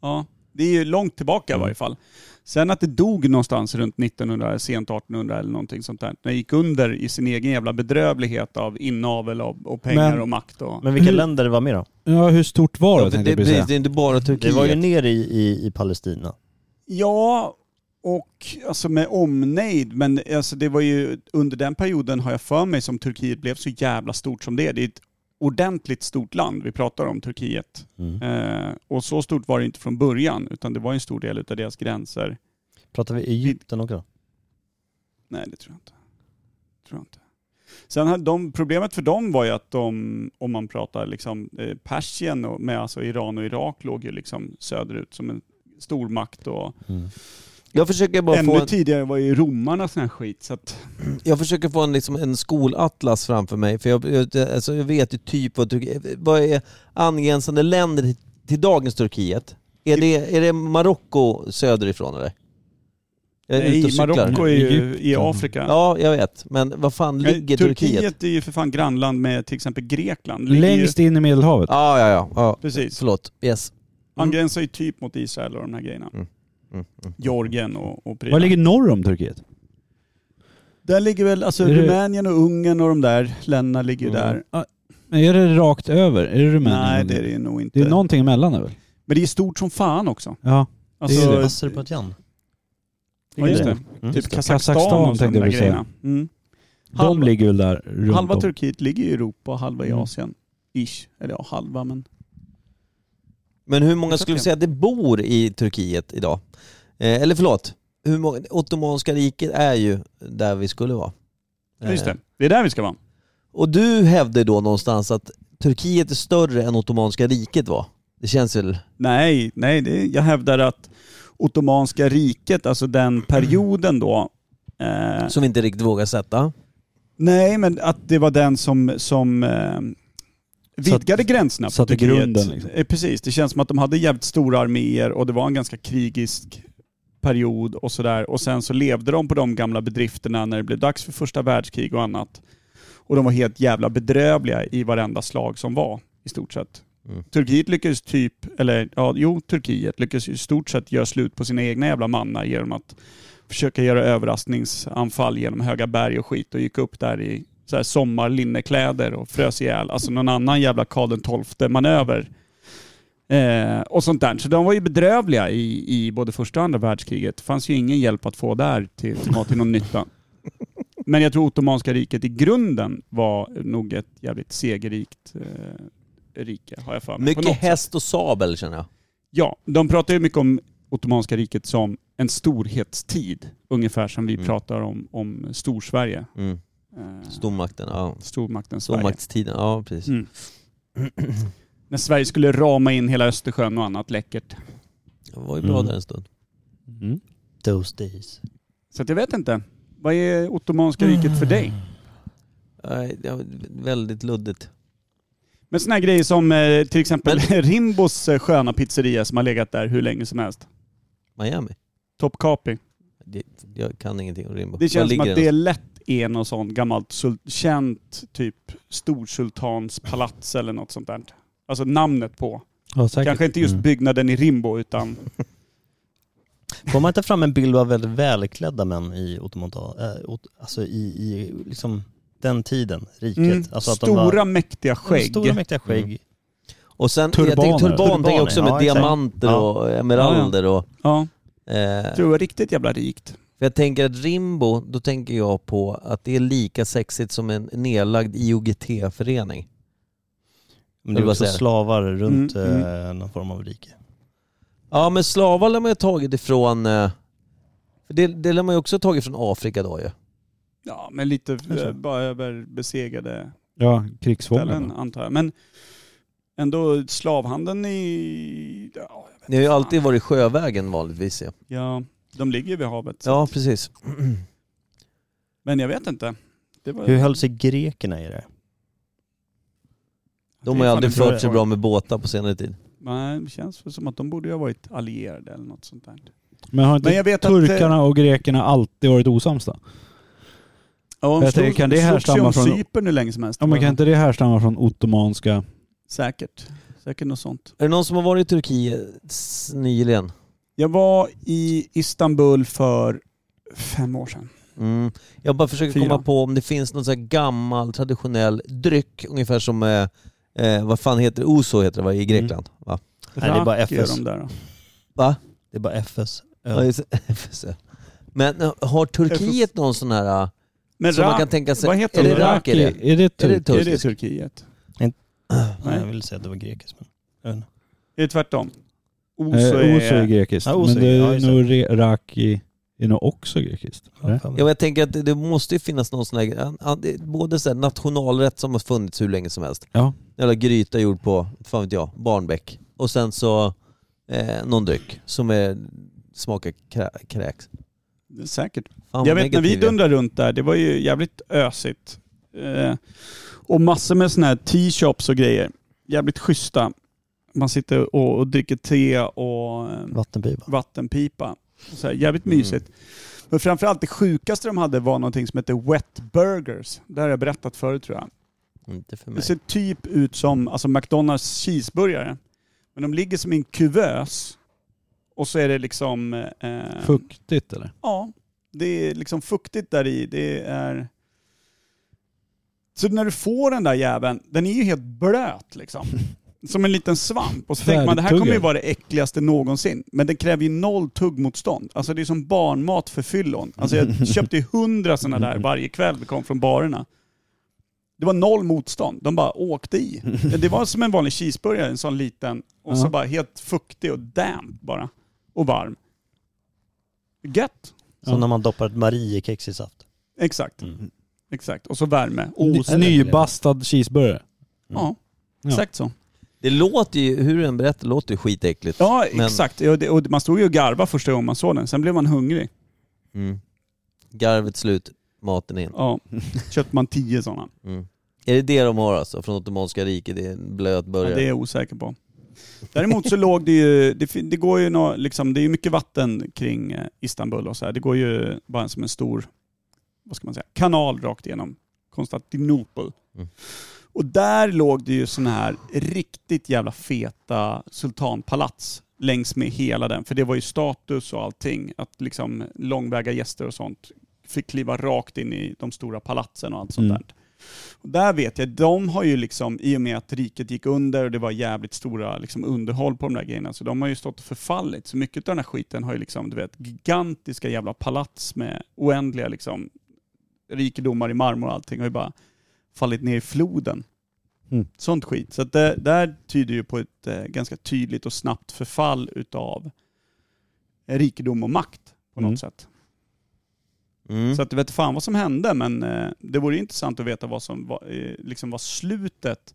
Speaker 3: Ja, det är ju långt tillbaka i varje fall. Sen att det dog någonstans runt 1900, sent 1800 eller någonting sånt där. När det gick under i sin egen jävla bedrövlighet av inavel och, och pengar
Speaker 1: Men-
Speaker 3: och makt. Och...
Speaker 4: Men vilka
Speaker 1: Hur-
Speaker 4: länder var med då?
Speaker 1: Ja, hur stort var det
Speaker 2: Ja, det,
Speaker 1: tänkte
Speaker 2: det,
Speaker 1: jag precis
Speaker 2: precis,
Speaker 1: säga.
Speaker 2: det är inte bara Turkiet.
Speaker 4: Det var ju ner i, i, i Palestina.
Speaker 3: Ja, och alltså med omnejd. Men alltså det var ju under den perioden har jag för mig som Turkiet blev så jävla stort som det är. Det är ett ordentligt stort land vi pratar om, Turkiet.
Speaker 4: Mm.
Speaker 3: Eh, och så stort var det inte från början, utan det var en stor del av deras gränser.
Speaker 4: Pratar vi Egypten också?
Speaker 3: Nej, det tror jag inte. Tror jag inte. Sen hade de, problemet för dem var ju att de, om man pratar liksom eh, Persien och med alltså Iran och Irak låg ju liksom söderut som en stormakt och
Speaker 4: Mm.
Speaker 2: jag försöker bara
Speaker 3: ännu
Speaker 2: få en,
Speaker 3: tidigare var ju romarna sån här skit så att
Speaker 2: jag försöker få en, liksom, en skolatlas framför mig. För jag, jag, alltså, jag vet ju typ vad Turkiet... Vad är angränsande länder till, till dagens Turkiet? Är det, är det Marocko söderifrån eller? Jag är ute och
Speaker 3: Nej,
Speaker 2: cyklar.
Speaker 3: Marocko är ju i
Speaker 1: Egypten.
Speaker 3: Afrika.
Speaker 2: Ja, jag vet. Men vad fan
Speaker 3: Men
Speaker 2: ligger Turkiet?
Speaker 3: Turkiet är ju för fan grannland med till exempel Grekland. Ligger
Speaker 1: Längst in i Medelhavet.
Speaker 2: Ja, ja, ja. ja.
Speaker 3: Ju, precis.
Speaker 2: Förlåt. Yes.
Speaker 3: Han gränsar ju typ mot Israel och de här grejerna.
Speaker 2: Mm, mm.
Speaker 3: Georgien och, och prylar.
Speaker 1: Vad ligger norr om Turkiet?
Speaker 3: Där ligger väl alltså
Speaker 1: Är det-
Speaker 3: Rumänien och Ungern och de där länderna ligger ju
Speaker 1: Mm.
Speaker 3: där.
Speaker 1: Men är det rakt över? Är det Rumänien?
Speaker 3: Nej, det är det ju nog inte.
Speaker 1: Det är någonting emellan är väl?
Speaker 3: Men det är stort som fan också.
Speaker 1: Ja.
Speaker 3: Alltså,
Speaker 1: är det.
Speaker 4: Azerbajdzjan.
Speaker 3: Ja, just det.
Speaker 4: Mm.
Speaker 3: Typ
Speaker 1: Kazakstan
Speaker 3: Kazakstan och de
Speaker 1: tänkte
Speaker 3: där
Speaker 1: jag säga.
Speaker 3: grejerna. Mm.
Speaker 1: De
Speaker 3: Halva-
Speaker 1: ligger väl där runt
Speaker 3: Halva
Speaker 1: om.
Speaker 3: Turkiet ligger i Europa, halva i
Speaker 1: Mm.
Speaker 3: Asien. Ish. Eller ja, halva men...
Speaker 2: Men hur många
Speaker 3: Exakt,
Speaker 2: skulle du
Speaker 3: ja.
Speaker 2: säga att det bor i Turkiet idag? Eh, eller förlåt, hur många, Ottomanska riket är ju där vi skulle vara.
Speaker 3: Ja, Just
Speaker 2: Eh,
Speaker 3: det. Det är där vi ska vara.
Speaker 2: Och du hävdar då någonstans att Turkiet är större än Ottomanska riket var? Det känns väl...
Speaker 3: Nej, nej det, jag hävdar att Ottomanska riket, alltså den perioden då, eh,
Speaker 2: Som vi inte riktigt vågar sätta.
Speaker 3: nej men att det var den som, som eh, vidgade gränserna på
Speaker 1: satte
Speaker 3: Turkiet.
Speaker 1: grunden, liksom.
Speaker 3: Eh, precis, det känns som att de hade jävligt stora arméer och det var en ganska krigisk period och sådär. Och sen så levde de på de gamla bedrifterna när det blev dags för första världskrig och annat. Och de var helt jävla bedrövliga i varenda slag som var i stort sett.
Speaker 2: Mm.
Speaker 3: Turkiet lyckades typ, eller ja, jo, Turkiet lyckades i stort sett göra slut på sina egna jävla mannar genom att försöka göra överraskningsanfall genom höga berg och skit och gick upp där i så här sommarlinnekläder och frös ihjäl. Alltså någon annan jävla Karl XII-manöver. Eh, och sånt där. Så de var ju bedrövliga i, i både första och andra världskriget. Det fanns ju ingen hjälp att få där till, som var till någon nytta. Men jag tror Ottomanska riket i grunden var nog ett jävligt segerrikt eh, rike, har jag för mig. på
Speaker 2: Mycket
Speaker 3: något sätt.
Speaker 2: häst och sabel känner jag.
Speaker 3: Ja, de pratar ju mycket om Ottomanska riket som en storhetstid. Ungefär som vi
Speaker 2: Mm.
Speaker 3: pratar om, om Storsverige.
Speaker 2: Mm.
Speaker 3: Eh,
Speaker 2: Stormakten, ja.
Speaker 3: stormakten Sverige.
Speaker 2: Stormaktstiden, ja precis.
Speaker 3: Mm. <clears throat> När Sverige skulle rama in hela Östersjön och annat läckert.
Speaker 2: Det var ju bra
Speaker 1: Mm.
Speaker 2: där en stund.
Speaker 1: Mm.
Speaker 4: Those days.
Speaker 3: Så att jag vet inte. Vad är Ottomanska riket för dig?
Speaker 2: Nej, det var väldigt luddigt.
Speaker 3: Men såna här grejer som eh, till exempel <laughs> Rimbos eh, sköna pizzeria som har legat där hur länge som helst.
Speaker 2: Miami.
Speaker 3: Top Capi.
Speaker 2: Det, jag kan ingenting om Rimbo.
Speaker 3: Det
Speaker 2: Var
Speaker 3: känns som
Speaker 2: ligger
Speaker 3: att
Speaker 2: den?
Speaker 3: det lätt är något sånt gammalt sul- känt typ storsultanspalats eller något sånt där. Alltså namnet på.
Speaker 4: Ja, säkert.
Speaker 3: Kanske inte just
Speaker 4: Mm.
Speaker 3: byggnaden i Rimbo utan
Speaker 4: Får man inte fram en bild av väldigt välklädda män i Ottomantal, äh, ot, alltså i, i liksom den tiden, riket?
Speaker 3: mm,
Speaker 4: Alltså att de
Speaker 3: stora
Speaker 4: var-
Speaker 3: mäktiga skägg.
Speaker 4: Stora mäktiga skägg.
Speaker 2: Mm. Och sen,
Speaker 1: Turbaner.
Speaker 2: jag tänkte turban tänker jag också med
Speaker 4: Turbaner, ja, exakt.
Speaker 2: diamanter
Speaker 4: Ja.
Speaker 2: och emeralder och...
Speaker 3: Ja,
Speaker 2: Eh,
Speaker 3: det var riktigt jävla rikt.
Speaker 2: för jag tänker att Rimbo, då tänker jag på att det är lika sexigt som en nedlagd IOGT-förening.
Speaker 4: Men det
Speaker 2: Eller
Speaker 4: var
Speaker 2: vad
Speaker 4: också
Speaker 2: säger du?
Speaker 4: slavar runt
Speaker 3: Mm, mm.
Speaker 4: eh, någon form av rike.
Speaker 2: Ja men slavar lär man ju ha tagit ifrån... eh, För det, det lär man ju också ha tagit från Afrika då ju.
Speaker 3: Ja, men lite eh, bara över besegrade
Speaker 1: Ja,
Speaker 3: ställen
Speaker 1: krigsfångarna.
Speaker 3: antar jag. Men ändå slavhandeln i... Ja, jag vet
Speaker 2: Ni har ju
Speaker 3: fan.
Speaker 2: alltid varit sjövägen vanligtvis ja.
Speaker 3: Ja, de ligger vid havet.
Speaker 2: Ja precis. <clears throat>
Speaker 3: Men jag vet inte. Det var...
Speaker 4: Hur höll sig grekerna i det?
Speaker 2: De har ju aldrig
Speaker 3: Det är fan en
Speaker 2: fört sig bra med båtar på senare tid.
Speaker 3: Nej, det känns väl som att de borde ju ha varit allierade eller något sånt där.
Speaker 1: Men har inte
Speaker 3: Men jag vet att,
Speaker 1: turkarna och grekerna alltid varit osams då?
Speaker 3: Ja,
Speaker 1: Jag tänker, kan det härstamma
Speaker 3: från...
Speaker 1: från-
Speaker 3: Cypern hur länge som helst.
Speaker 1: Ja, men kan inte det härstamma från ottomanska?
Speaker 3: Säkert. Säkert något sånt.
Speaker 2: Är det någon som har varit i Turkiet s- nyligen?
Speaker 3: Jag var i Istanbul för fem år sedan.
Speaker 2: Mm. Jag bara försöker
Speaker 3: Fyra.
Speaker 2: komma på om det finns någon sån här gammal traditionell dryck, ungefär som, eh, eh, vad fan heter det, Ouzo heter det va, i Grekland?
Speaker 3: Mm.
Speaker 2: Va?
Speaker 4: Nej, det är bara
Speaker 3: Rack gör
Speaker 4: FS.
Speaker 3: De där. då.
Speaker 2: va?
Speaker 4: Det är bara FS.
Speaker 2: Ja. just det. <laughs> FSC. Men eh, har Turkiet någon sån här, eh,
Speaker 3: Men
Speaker 2: som man
Speaker 3: Rak-
Speaker 2: kan tänka sig,
Speaker 3: vad heter
Speaker 2: är det
Speaker 3: de?
Speaker 2: rak är det?
Speaker 1: Är det typ?
Speaker 2: Är det
Speaker 1: turk?
Speaker 3: är det
Speaker 2: turkiskt?
Speaker 3: typ? Turkiet?
Speaker 4: Nej. Jag ville säga att det var grekiskt. Men... jag vet inte.
Speaker 3: Är det tvärtom? Oso
Speaker 1: Eh,
Speaker 3: är...
Speaker 1: Oso är grekiskt.
Speaker 4: Ja, Oso
Speaker 1: men det
Speaker 4: är-
Speaker 1: är
Speaker 4: ja, just det.
Speaker 1: nog re- raki är nog också grekiskt. Eh,
Speaker 4: Ja,
Speaker 1: eller?
Speaker 4: fan.
Speaker 2: Ja, men jag tänker att det, det måste ju finnas någon sån här, an- an- det- både så här nationalrätt som har funnits hur länge som helst.
Speaker 1: Ja.
Speaker 2: Eller gryta gjord på, fan vet jag, barnbäck. Och sen så eh, någon dryck som är, smakar krä, kräks.
Speaker 3: Säkert.
Speaker 2: Fan,
Speaker 3: jag
Speaker 2: vad
Speaker 3: vet när vi
Speaker 2: negativ jag är.
Speaker 3: dundrade runt där, det var ju jävligt ösigt. Eh, och massor med sådana här t-shops och grejer. Jävligt schyssta. Man sitter och, och dricker te och eh,
Speaker 4: Vattenpipa.
Speaker 3: vattenpipa. Och så här, jävligt mysigt.
Speaker 2: Mm.
Speaker 3: Men framförallt det sjukaste de hade var någonting som hette Wet Burgers. Det här har jag berättat förut tror jag.
Speaker 2: mm, Inte för
Speaker 3: Det
Speaker 2: mig.
Speaker 3: ser typ ut som alltså McDonalds cheeseburgare. Men de ligger som i en kuvös. Och så är det liksom... Eh,
Speaker 1: Fuktigt eller?
Speaker 3: Ja, det är liksom fuktigt där i. Det är... Så när du får den där jäveln, den är ju helt blöt liksom. Som en liten svamp. Och så tänker man det här kommer ju
Speaker 1: Färdigtuggad.
Speaker 3: vara det äckligaste någonsin. Men den kräver ju noll tuggmotstånd. Alltså det är som barnmat för fyllon.
Speaker 1: <laughs>
Speaker 3: Alltså jag köpte ju hundra sådana
Speaker 1: Mm.
Speaker 3: där varje kväll vi kom från barerna. Det var noll motstånd. De bara åkte i. Det var som en vanlig cheeseburgare, en sån liten. Och så
Speaker 1: Ja.
Speaker 3: bara helt fuktig och damp bara. Och varm. Gött.
Speaker 4: Som när man doppar ett Mariekex i saft.
Speaker 3: Exakt.
Speaker 4: Mm.
Speaker 3: Exakt. Och så värme.
Speaker 1: Ny-
Speaker 3: Och
Speaker 1: Nybastad cheeseburgare.
Speaker 3: ja,
Speaker 1: Ja.
Speaker 3: exakt så.
Speaker 2: Det låter ju, hur du än berättar, låter ju skitäckligt.
Speaker 3: Ja,
Speaker 2: Men-
Speaker 3: exakt. Ja, det- Och man stod ju och garvade första gången man såg den. Sen blev man hungrig.
Speaker 2: Mm. Garvet slut, maten in.
Speaker 3: <laughs> Ja, köpte man tio sådana.
Speaker 2: Mm. Är det det de har alltså, från Ottomanska riket? Det är en blöt
Speaker 3: Ja,
Speaker 2: början.
Speaker 3: det är jag osäker på. Däremot så låg det ju, det, fin- det går ju nå, liksom, det är ju mycket vatten kring eh, Istanbul och så här. Det går ju bara som en stor, vad ska man säga, kanal rakt igenom Konstantinopel.
Speaker 2: Mm.
Speaker 3: Och där låg det ju sådana här riktigt jävla feta sultanpalats längs med hela den. För det var ju status och allting. Att liksom långväga gäster och sånt fick kliva rakt in i de stora palatsen och allt sånt
Speaker 1: Mm.
Speaker 3: där. Och där vet jag, de har ju liksom, i och med att riket gick under och det var jävligt stora liksom, underhåll på de där grejerna, så de har ju stått och förfallit. Så mycket av den här skiten har ju liksom, du vet, gigantiska jävla palats med oändliga liksom, rikedomar i marmor och allting har ju bara fallit ner i floden.
Speaker 1: Mm.
Speaker 3: Sånt skit. Så att det där tyder ju på ett eh, ganska tydligt och snabbt förfall utav rikedom och makt på
Speaker 1: Mm.
Speaker 3: något sätt.
Speaker 2: Mm.
Speaker 3: Så att du vet fan vad som hände, men eh, det vore ju intressant att veta vad som var, eh, liksom var slutet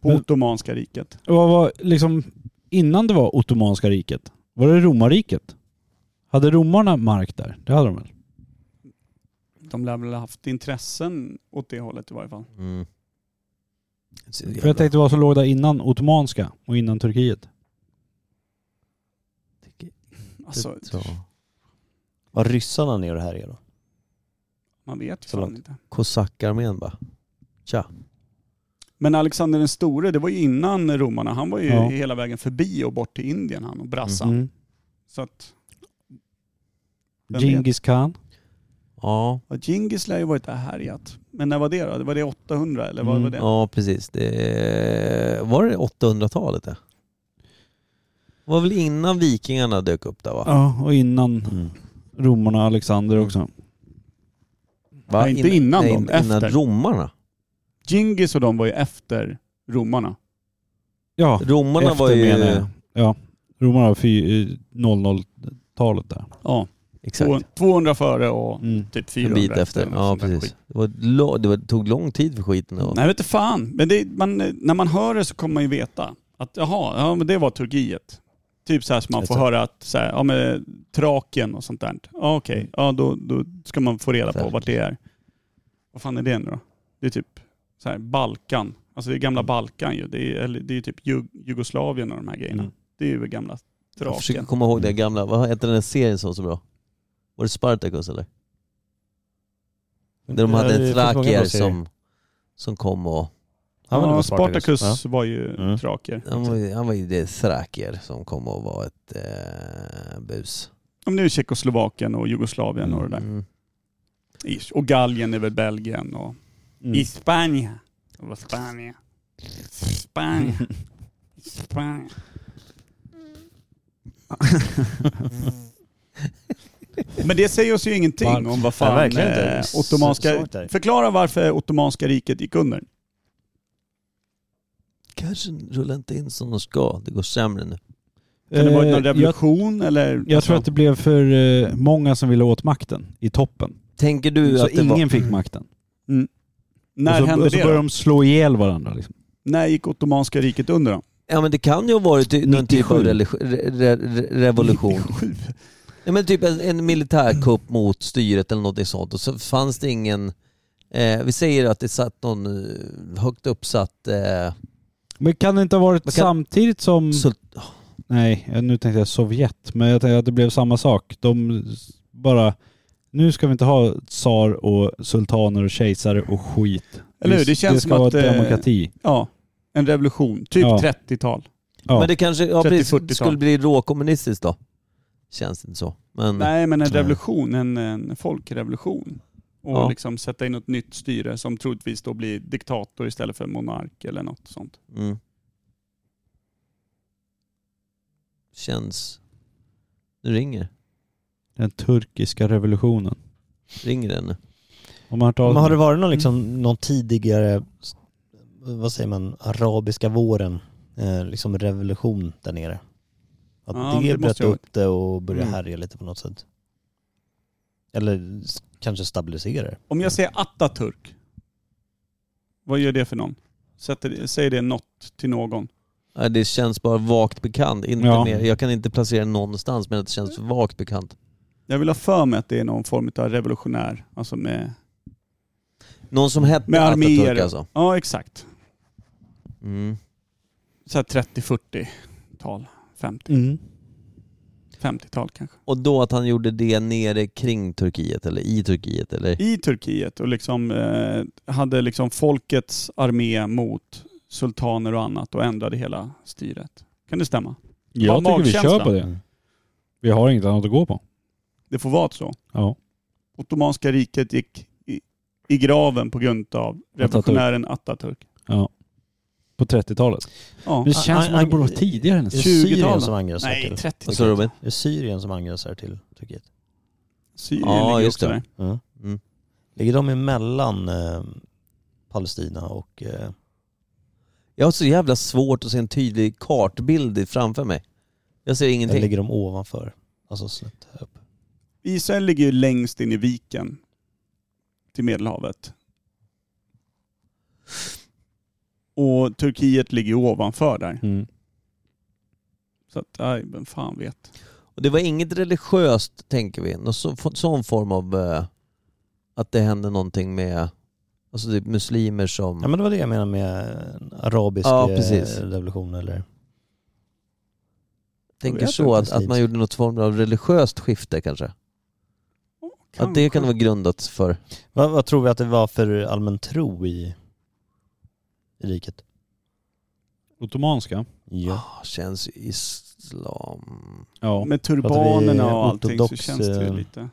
Speaker 3: på
Speaker 1: Men-
Speaker 3: Ottomanska riket.
Speaker 1: Vad var, liksom, innan det var Ottomanska riket, var det romarriket? Hade romarna mark där? Det hade de väl?
Speaker 3: De lär väl ha haft intressen åt det hållet i varje fall.
Speaker 2: Mm.
Speaker 1: För jag tänkte vad som låg där innan Ottomanska och innan Turkiet.
Speaker 3: Alltså,
Speaker 2: Så.
Speaker 4: Var ryssarna ner och härjade då?
Speaker 3: man vet ju
Speaker 4: Så
Speaker 3: fan
Speaker 4: långt.
Speaker 3: inte.
Speaker 2: Kosackarmén bara. Tja.
Speaker 3: Men Alexander den store, det var ju innan romarna. Han var ju
Speaker 1: Ja.
Speaker 3: hela vägen förbi och bort till Indien han och brassan.
Speaker 1: Mm.
Speaker 3: Så att, Vem vet?
Speaker 1: Genghis khan.
Speaker 2: Ja,
Speaker 3: ja, Djingis lär ju varit där härjat. Men när var det då? Var det 800 eller vad
Speaker 1: Mm,
Speaker 3: var det?
Speaker 2: ja precis. Det... Var det 800-talet det? Det var väl innan vikingarna dök upp där va?
Speaker 1: Ja, och innan
Speaker 2: Mm.
Speaker 1: romarna och Alexander också.
Speaker 2: va?
Speaker 3: Nej, inte innan
Speaker 2: nej,
Speaker 3: dem,
Speaker 2: Innan
Speaker 3: efter.
Speaker 2: romarna.
Speaker 3: Djingis och de var ju efter romarna.
Speaker 1: Ja,
Speaker 2: Romarna
Speaker 1: efter
Speaker 2: var ju...
Speaker 1: menar jag. Ja, romarna var fy- eh, 00-talet där.
Speaker 3: Ja,
Speaker 2: Exakt.
Speaker 3: 200 före och
Speaker 1: Mm.
Speaker 2: En
Speaker 3: typ 400
Speaker 2: bit efter.
Speaker 3: eller något
Speaker 2: Ja,
Speaker 3: sånt där skit.
Speaker 2: precis. Det, var, lo- det var, tog lång tid för skiten. Och...
Speaker 3: Nej, vet du fan. Men det, man, när man hör det så kommer man ju veta att jaha, ja, men det var Turkiet. Typ så här som man får
Speaker 2: Exakt.
Speaker 3: höra att så här, ja, men, Traken och sånt där. Ja, Okej, ja, då, då ska man få reda på
Speaker 2: Exakt.
Speaker 3: vart det är. Vad fan är det nu då? Det är typ så här, Balkan. Alltså det är gamla Balkan ju. Det är, eller, det är typ Jug- Jugoslavien och de här grejerna.
Speaker 1: Mm.
Speaker 3: Det är ju gamla
Speaker 2: jag försöker
Speaker 3: Traken.
Speaker 2: komma ihåg det gamla. Vad hette den där serien som var så bra? Var det Spartacus eller? Där de
Speaker 4: Ja, det
Speaker 2: hade
Speaker 4: finns många bra
Speaker 2: trakier
Speaker 4: serier.
Speaker 2: som, som kom och...
Speaker 4: Han var
Speaker 3: Ja,
Speaker 4: nog
Speaker 3: Spartacus
Speaker 4: Ja.
Speaker 3: var ju
Speaker 4: Mm.
Speaker 3: traker.
Speaker 2: Han var, ju- han var ju det trakier som kom och var ett eh, bus.
Speaker 3: Ja, men det är ju Tjeckoslovakien och Jugoslavien och det där.
Speaker 2: Mm.
Speaker 3: Ish. Och Gallien är väl Belgien och...
Speaker 1: Mm.
Speaker 3: I Spanien. Det var Spanien. Spanien. Spanien. <laughs> Men det säger oss ju ingenting
Speaker 1: Varför?
Speaker 3: om vad fan
Speaker 4: verkligen inte.
Speaker 3: eh,
Speaker 4: Så-
Speaker 3: ottomanska...
Speaker 4: svårt där.
Speaker 3: Förklara varför ottomanska riket gick under.
Speaker 2: Kanske rullar inte in som de ska. Det går sämre nu.
Speaker 3: Kan det ha varit någon
Speaker 1: Eh, jag-
Speaker 3: revolution eller?
Speaker 1: Jag tror att det blev för eh, många som ville åt makten i toppen.
Speaker 2: Tänker du
Speaker 1: Så
Speaker 2: att det
Speaker 1: ingen
Speaker 2: var...
Speaker 1: fick makten.
Speaker 3: Mm. När
Speaker 1: och så,
Speaker 3: hände
Speaker 1: och så
Speaker 3: det
Speaker 1: började
Speaker 3: då?
Speaker 1: de slå ihjäl varandra. Liksom.
Speaker 3: När gick ottomanska riket under då?
Speaker 2: Ja men det kan ju ha varit någon typ
Speaker 1: 97.
Speaker 2: av religi- re, re, re, revolution. Ja, men typ en, en militärkupp mot styret eller något sånt och så fanns det ingen... Eh, vi säger att det satt någon eh, högt uppsatt...
Speaker 3: Mm.
Speaker 2: Eh,
Speaker 1: Men kan det inte ha varit
Speaker 2: Men kan-
Speaker 1: samtidigt som...
Speaker 2: sul-
Speaker 1: Nej, jag- nu tänkte jag Sovjet, men jag tänkte att det blev samma sak. De s- bara... Nu ska vi inte ha tsar och sultaner och kejsare och skit.
Speaker 3: Eller hur?
Speaker 1: Vi-
Speaker 3: Det känns
Speaker 1: ska
Speaker 3: som
Speaker 1: vara
Speaker 3: att, eh,
Speaker 1: demokrati.
Speaker 3: Ja, en revolution. Typ
Speaker 1: Ja.
Speaker 3: 30-tal.
Speaker 1: Ja.
Speaker 2: Men det kanske ja,
Speaker 3: 30,
Speaker 2: precis,
Speaker 3: 40-tal.
Speaker 2: skulle bli råkommunistiskt då. Känns inte så. Men
Speaker 3: Nej, men en
Speaker 2: Mm. Nej.
Speaker 3: revolution, en, en folkrevolution. Och
Speaker 2: Ja.
Speaker 3: liksom sätta in ett nytt styre som troligtvis då blir diktator istället för monark eller något sånt.
Speaker 2: Mm. Känns... Nu ringer
Speaker 1: Den turkiska revolutionen.
Speaker 2: Ringer den nu?
Speaker 1: Om man har hört
Speaker 4: Men har det
Speaker 1: talas
Speaker 4: varit
Speaker 3: Mm.
Speaker 4: någon, liksom, någon tidigare, vad säger man, arabiska våren, eh, liksom revolution där nere? Att
Speaker 3: Ja, men
Speaker 4: det,
Speaker 3: det
Speaker 4: bröt
Speaker 3: måste jag-
Speaker 4: upp det och började
Speaker 1: Mm.
Speaker 4: härja lite på något sätt. Eller s- kanske stabilisera det.
Speaker 3: Om jag säger Atatürk, vad gör det för någon? Sätter, säger det något till någon?
Speaker 2: Nej, Det känns bara vagt bekant. Inte
Speaker 1: Ja.
Speaker 2: mer. Jag kan inte placera den någonstans men det känns vagt bekant.
Speaker 3: Jag vill ha för mig att det är någon form av revolutionär. Alltså med,
Speaker 2: Någon som hette
Speaker 3: med
Speaker 2: Atatürk
Speaker 3: arméer.
Speaker 2: alltså?
Speaker 3: Ja, exakt.
Speaker 2: Mm.
Speaker 3: Så här 30-40-tal. 50,
Speaker 1: mm.
Speaker 3: 50-tal kanske.
Speaker 2: Och då att han gjorde det nere kring Turkiet eller i Turkiet eller?
Speaker 3: I Turkiet och liksom eh, hade liksom folkets armé mot sultaner och annat och ändrade hela styret. Kan det stämma?
Speaker 1: Jag
Speaker 3: Bara
Speaker 1: tycker vi kör
Speaker 3: magkänsla.
Speaker 1: på det. Vi har inget annat att gå på.
Speaker 3: Det får vara så.
Speaker 1: Ja.
Speaker 3: Ottomanska riket gick i, i graven på grund av revolutionären Atatürk.
Speaker 1: ja. På 30-talet.
Speaker 3: Ja.
Speaker 1: Det känns som att det borde vara tidigare
Speaker 4: Är det
Speaker 1: nästan.
Speaker 3: 20-talet?
Speaker 4: Syrien som angränsar
Speaker 3: Nej,
Speaker 4: till?
Speaker 3: 30
Speaker 2: Vad sa du Robin?
Speaker 4: Är det Syrien som angränsar till Turkiet?
Speaker 3: Syrien
Speaker 2: Ja,
Speaker 3: ligger
Speaker 2: just
Speaker 3: också
Speaker 2: det.
Speaker 3: där.
Speaker 4: Mm.
Speaker 2: Mm.
Speaker 4: Ligger de emellan eh, Palestina och... Eh,
Speaker 2: Jag har så jävla svårt att se en tydlig kartbild framför mig. Jag ser
Speaker 4: eller
Speaker 2: ingenting.
Speaker 4: ligger de ovanför? Alltså snett upp.
Speaker 3: Mm. Israel ligger ju längst in i viken till Medelhavet. Och Turkiet ligger ju ovanför där.
Speaker 1: Mm.
Speaker 3: Så att, nej, vem fan vet.
Speaker 2: Och det var inget religiöst, tänker vi. Någon sån, sån form av eh, att det hände någonting med alltså typ muslimer som...
Speaker 4: Ja men det var det jag menade med arabisk
Speaker 2: Ja,
Speaker 4: eh,
Speaker 2: precis.
Speaker 4: revolution eller...
Speaker 2: tänker
Speaker 4: jag
Speaker 2: så,
Speaker 4: tror
Speaker 2: att, att
Speaker 4: muslimsk.
Speaker 2: man gjorde något form av religiöst skifte kanske. Att det kan vara grundat för...
Speaker 4: Vad, vad tror vi att det var för allmän tro i, i riket?
Speaker 1: Ottomanska?
Speaker 4: Ja.
Speaker 2: Ah, känns islam...
Speaker 1: Ja.
Speaker 3: Med turbanerna och
Speaker 4: Pratar
Speaker 3: allting
Speaker 4: vi
Speaker 3: så
Speaker 4: ortodox,
Speaker 3: känns det ju
Speaker 4: eh,
Speaker 3: lite...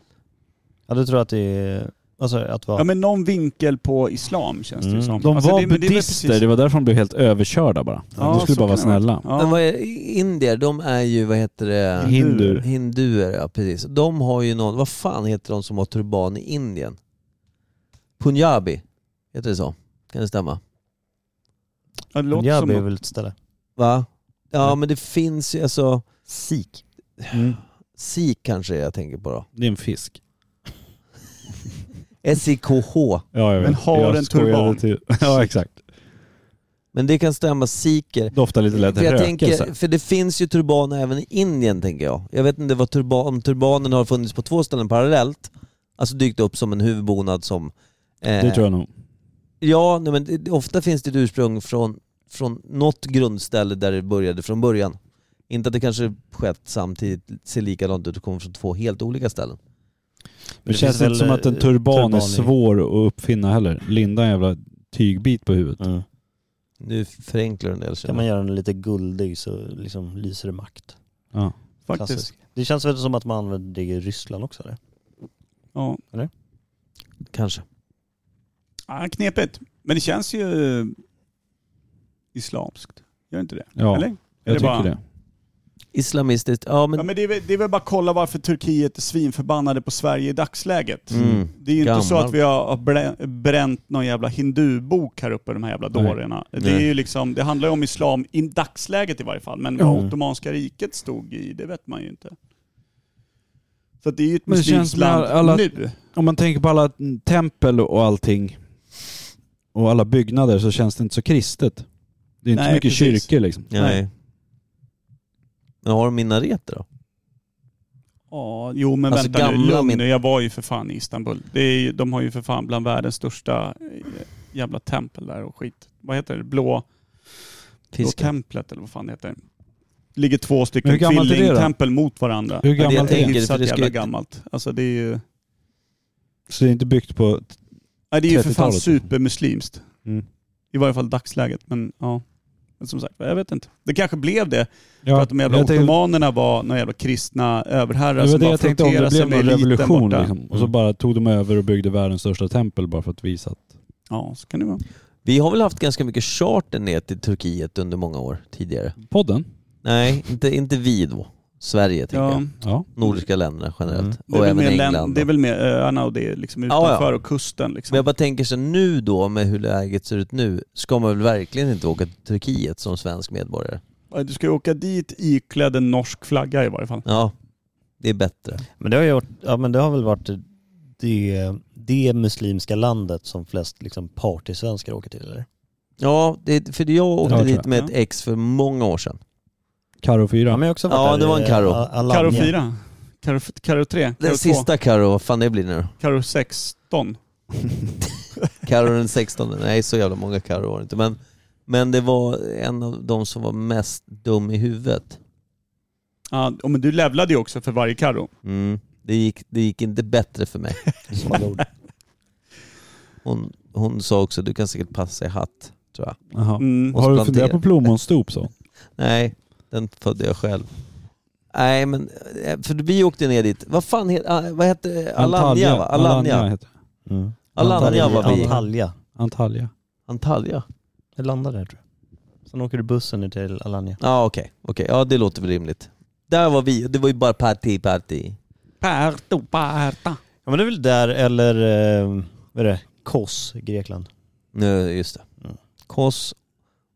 Speaker 4: ja du tror att det är... Alltså att vara...
Speaker 3: Ja men någon vinkel på islam känns det ju
Speaker 4: Mm.
Speaker 3: som.
Speaker 1: De
Speaker 3: Alltså,
Speaker 1: var
Speaker 3: det- men det är väl
Speaker 1: buddhister, det, var därför de blev helt överkörda bara.
Speaker 3: Ja,
Speaker 1: de skulle
Speaker 3: så
Speaker 1: bara vara
Speaker 3: kan det vara.
Speaker 1: snälla.
Speaker 2: Men
Speaker 3: Ja.
Speaker 2: vad är, indier, de är ju, vad heter det?
Speaker 1: Hindur.
Speaker 2: Hinduer, ja precis. De har ju någon, vad fan heter de som har turban i Indien? Punjabi, heter det så? Kan det stämma?
Speaker 3: Ja, det låter
Speaker 4: Punjabi är
Speaker 3: som...
Speaker 4: väl ett ställe?
Speaker 2: Va? Ja men det finns ju alltså,
Speaker 4: Sik.
Speaker 1: Mm.
Speaker 2: sik kanske jag tänker på då.
Speaker 1: Det är en fisk.
Speaker 2: S-I-K-H.
Speaker 1: Ja, jag vet.
Speaker 3: Men har
Speaker 1: jag
Speaker 3: en
Speaker 1: skojade
Speaker 3: turban.
Speaker 1: Till. <laughs> Ja, exakt.
Speaker 2: Men det kan stämma, siker.
Speaker 1: Doftar lite lätt
Speaker 2: För, jag tänker,
Speaker 1: rökelse.
Speaker 2: för det finns ju turbaner även i Indien tänker jag. Jag vet inte vad turba, om turbanen har funnits på två ställen parallellt. Alltså dykt upp som en huvudbonad som... eh,
Speaker 1: Det tror jag nog.
Speaker 2: Ja, nej, men det, ofta finns det ett ursprung från, från något grundställe där det började från början. Inte att det kanske skett samtidigt, ser likadant ut och kommer från två helt olika ställen.
Speaker 1: Det,
Speaker 4: det
Speaker 1: känns
Speaker 4: finns
Speaker 1: inte som
Speaker 4: väl,
Speaker 1: att en
Speaker 4: eh,
Speaker 1: turban, är
Speaker 4: turban i-
Speaker 1: svår att uppfinna heller. Linda en jävla tygbit på huvudet.
Speaker 4: Mm.
Speaker 2: Nu förenklar du en del känner
Speaker 4: Kan man
Speaker 2: jag.
Speaker 4: göra den lite guldig så liksom lyser det makt.
Speaker 1: Ja.
Speaker 3: Faktiskt.
Speaker 4: Klassisk. Det känns väl som att man använder det i Ryssland också eller?
Speaker 3: Ja.
Speaker 2: Kanske.
Speaker 3: ja, knepigt. Men det känns ju islamskt. Gör inte det?
Speaker 1: Ja,
Speaker 3: Eller?
Speaker 1: jag
Speaker 3: det
Speaker 1: tycker
Speaker 3: bara-
Speaker 1: det.
Speaker 2: Islamistiskt, ja
Speaker 3: Ja,
Speaker 2: men...
Speaker 3: men det är, väl, det är väl bara att kolla varför Turkiet är svinförbannade på Sverige i dagsläget.
Speaker 2: Mm.
Speaker 3: Det är ju inte så
Speaker 2: Gammal.
Speaker 3: att vi har har brä- bränt någon jävla hindubok här uppe, de här jävla
Speaker 1: Nej.
Speaker 3: dårorna. Det, är
Speaker 2: Nej.
Speaker 3: ju liksom, det handlar ju om islam i dagsläget i varje fall, men vad
Speaker 1: Mm.
Speaker 3: Ottomanska riket stod i, det vet man ju inte. Så att det är ju ett
Speaker 1: Men det känns
Speaker 3: muslimskt
Speaker 1: som
Speaker 3: land
Speaker 1: alla-
Speaker 3: nu.
Speaker 1: Om man tänker på alla tempel och allting och alla byggnader så känns det inte så kristet. Det är inte
Speaker 3: Nej,
Speaker 1: så mycket
Speaker 3: precis.
Speaker 1: kyrkor liksom.
Speaker 2: Nej. Men har de minareter då?
Speaker 3: Ja, jo men
Speaker 2: Alltså,
Speaker 3: vänta nu,
Speaker 2: gamla
Speaker 3: lugn
Speaker 2: min-
Speaker 3: nu. Jag var ju för fan i Istanbul. Det är ju, de har ju för fan bland världens största eh, jävla tempel där och skit. Vad heter det? Blå... Blå
Speaker 2: Fiskar?
Speaker 3: templet eller vad fan det heter. ligger två
Speaker 1: Men
Speaker 3: stycken
Speaker 1: hur gammalt är det då?
Speaker 3: tvillingtempel mot varandra.
Speaker 1: Hur
Speaker 2: Ja, det
Speaker 1: gammalt
Speaker 2: jag
Speaker 1: är det?
Speaker 2: tänker-
Speaker 3: Hyfsat
Speaker 2: för det ska
Speaker 3: jävla
Speaker 2: ju-
Speaker 3: gammalt. Alltså det är ju...
Speaker 1: Så det är inte byggt på...
Speaker 3: Nej, det är ju för fan
Speaker 1: 30-talet.
Speaker 3: supermuslimskt.
Speaker 1: Mm.
Speaker 3: I varje fall dagsläget. Men ja. Men som sagt, jag vet inte. Det kanske blev det
Speaker 1: Ja,
Speaker 3: för att de jävla
Speaker 1: jag tänkte-
Speaker 3: ottomanerna var några jävla kristna överherrar
Speaker 1: Det var
Speaker 3: som
Speaker 1: det
Speaker 3: bara
Speaker 1: jag tänkte om
Speaker 3: frotterade
Speaker 1: det
Speaker 3: sig
Speaker 1: blev
Speaker 3: med
Speaker 1: någon
Speaker 3: eliten
Speaker 1: revolution
Speaker 3: borta. Mm.
Speaker 1: liksom. Och så bara tog de över och byggde världens största tempel bara för att visa att...
Speaker 3: Ja, så kan det vara.
Speaker 2: Vi har väl haft ganska mycket charter ner till Turkiet under många år tidigare.
Speaker 1: Podden?
Speaker 2: Nej, inte, inte vi då. Sverige tänker
Speaker 3: Ja,
Speaker 2: jag.
Speaker 1: Ja.
Speaker 2: Nordiska länderna generellt.
Speaker 3: det, är
Speaker 2: Och
Speaker 3: väl
Speaker 2: även
Speaker 3: mer län-
Speaker 2: England. då.
Speaker 3: det är väl mer öarna och det är liksom
Speaker 2: Ja, ja.
Speaker 3: utanför och kusten liksom.
Speaker 2: Men jag bara tänker så nu då med hur läget ser ut nu, ska man väl verkligen inte åka till Turkiet som svensk medborgare?
Speaker 3: Ja, Du ska ju åka dit iklädd en norsk flagga i varje fall.
Speaker 2: Ja, det är bättre.
Speaker 4: Men det har, ju varit, ja, men det har väl varit det, det muslimska landet som flest liksom, partysvenskar åker till eller?
Speaker 2: Ja, det, för jag åkte
Speaker 1: tror
Speaker 2: dit
Speaker 1: jag.
Speaker 2: med ett
Speaker 3: Ja.
Speaker 2: ex för många år sedan.
Speaker 1: Karo 4.
Speaker 4: Ja, men jag har också varit
Speaker 2: Ja,
Speaker 4: där
Speaker 2: det var en
Speaker 4: i
Speaker 2: Karo.
Speaker 4: Al- Alanya.
Speaker 3: Karo 4, Karo, Karo 3,
Speaker 2: Den
Speaker 3: Karo 2,
Speaker 2: sista Karo, vad fan det blir nu då?
Speaker 3: Karo 16.
Speaker 2: Karo den 16, nej så jävla många Karo var det inte. Men, men det var en av de som var mest dum i huvudet.
Speaker 3: Ja, och men du levlade ju också för varje Karo.
Speaker 2: Mm. Det, gick, det gick inte bättre för mig.
Speaker 4: Som andra ord.
Speaker 2: Hon, hon sa också, du kan säkert passa i hatt, tror jag.
Speaker 1: Jaha.
Speaker 3: Mm.
Speaker 2: Och
Speaker 1: Har du
Speaker 2: plantera.
Speaker 1: funderat på plommonstop så?
Speaker 2: Nej, den födde jag själv. Nej men, eh, för vi åkte ner dit. Vad fan het, ah, vad hette Alanya va? Alanya.
Speaker 1: heter det.
Speaker 4: Mm.
Speaker 2: Alanya var vi.
Speaker 4: Antalya.
Speaker 1: Antalya.
Speaker 2: Antalya?
Speaker 4: Det landar där tror jag. Sen åker du bussen ner till Alanya.
Speaker 2: Ja okej, okej. Ja det låter väl rimligt. Där var vi, det var ju bara parti, parti.
Speaker 3: Perto, perta.
Speaker 4: Ja men det är väl där eller eh, vad är det? Kos, Grekland.
Speaker 2: Nu, just det.
Speaker 4: Mm.
Speaker 2: Kos